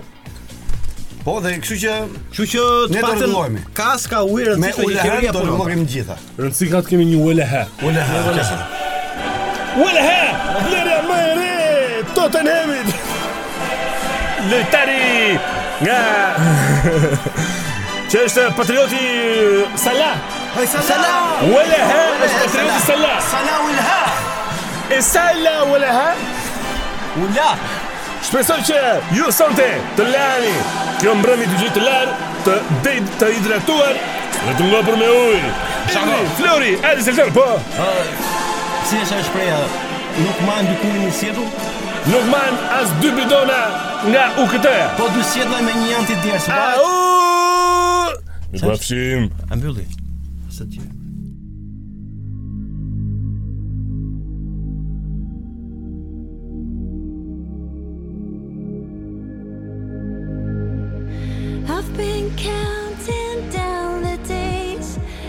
F: Po dhe kështu që
K: Kështu që
F: Ne
K: të
F: do
K: paktën
F: rregullohemi.
K: kaska ujë
F: me
K: rëndësishme
F: ul
K: që
F: hash
K: po qeveria
F: do
K: punon.
F: rregullohemi të gjitha.
X: Rëndësi ka të kemi një ULH.
F: Ul hash.
X: ULH, blerja më e re e Tottenhamit. Lojtari nga që është patrioti Salah.
F: Ai Salah.
X: ULH është patrioti Salah.
F: Salah ul ha.
X: E Salah ULH.
F: Ula.
X: Shpresoj që ju sonte të lani kjo mbrëmje të gjithë të larë, të dej të hidratuar dhe të ngopur me ujë. Indri, Flori, Adi Selçar, po.
K: Si është ajo shpreha? Nuk mban dy kujë në sjetull?
X: Nuk mban as dy bidona nga UKT.
K: Po dy sjetlla me një janë të djersë.
X: Au! Ju bafshim.
K: A mbylli. Sa ti? been counting.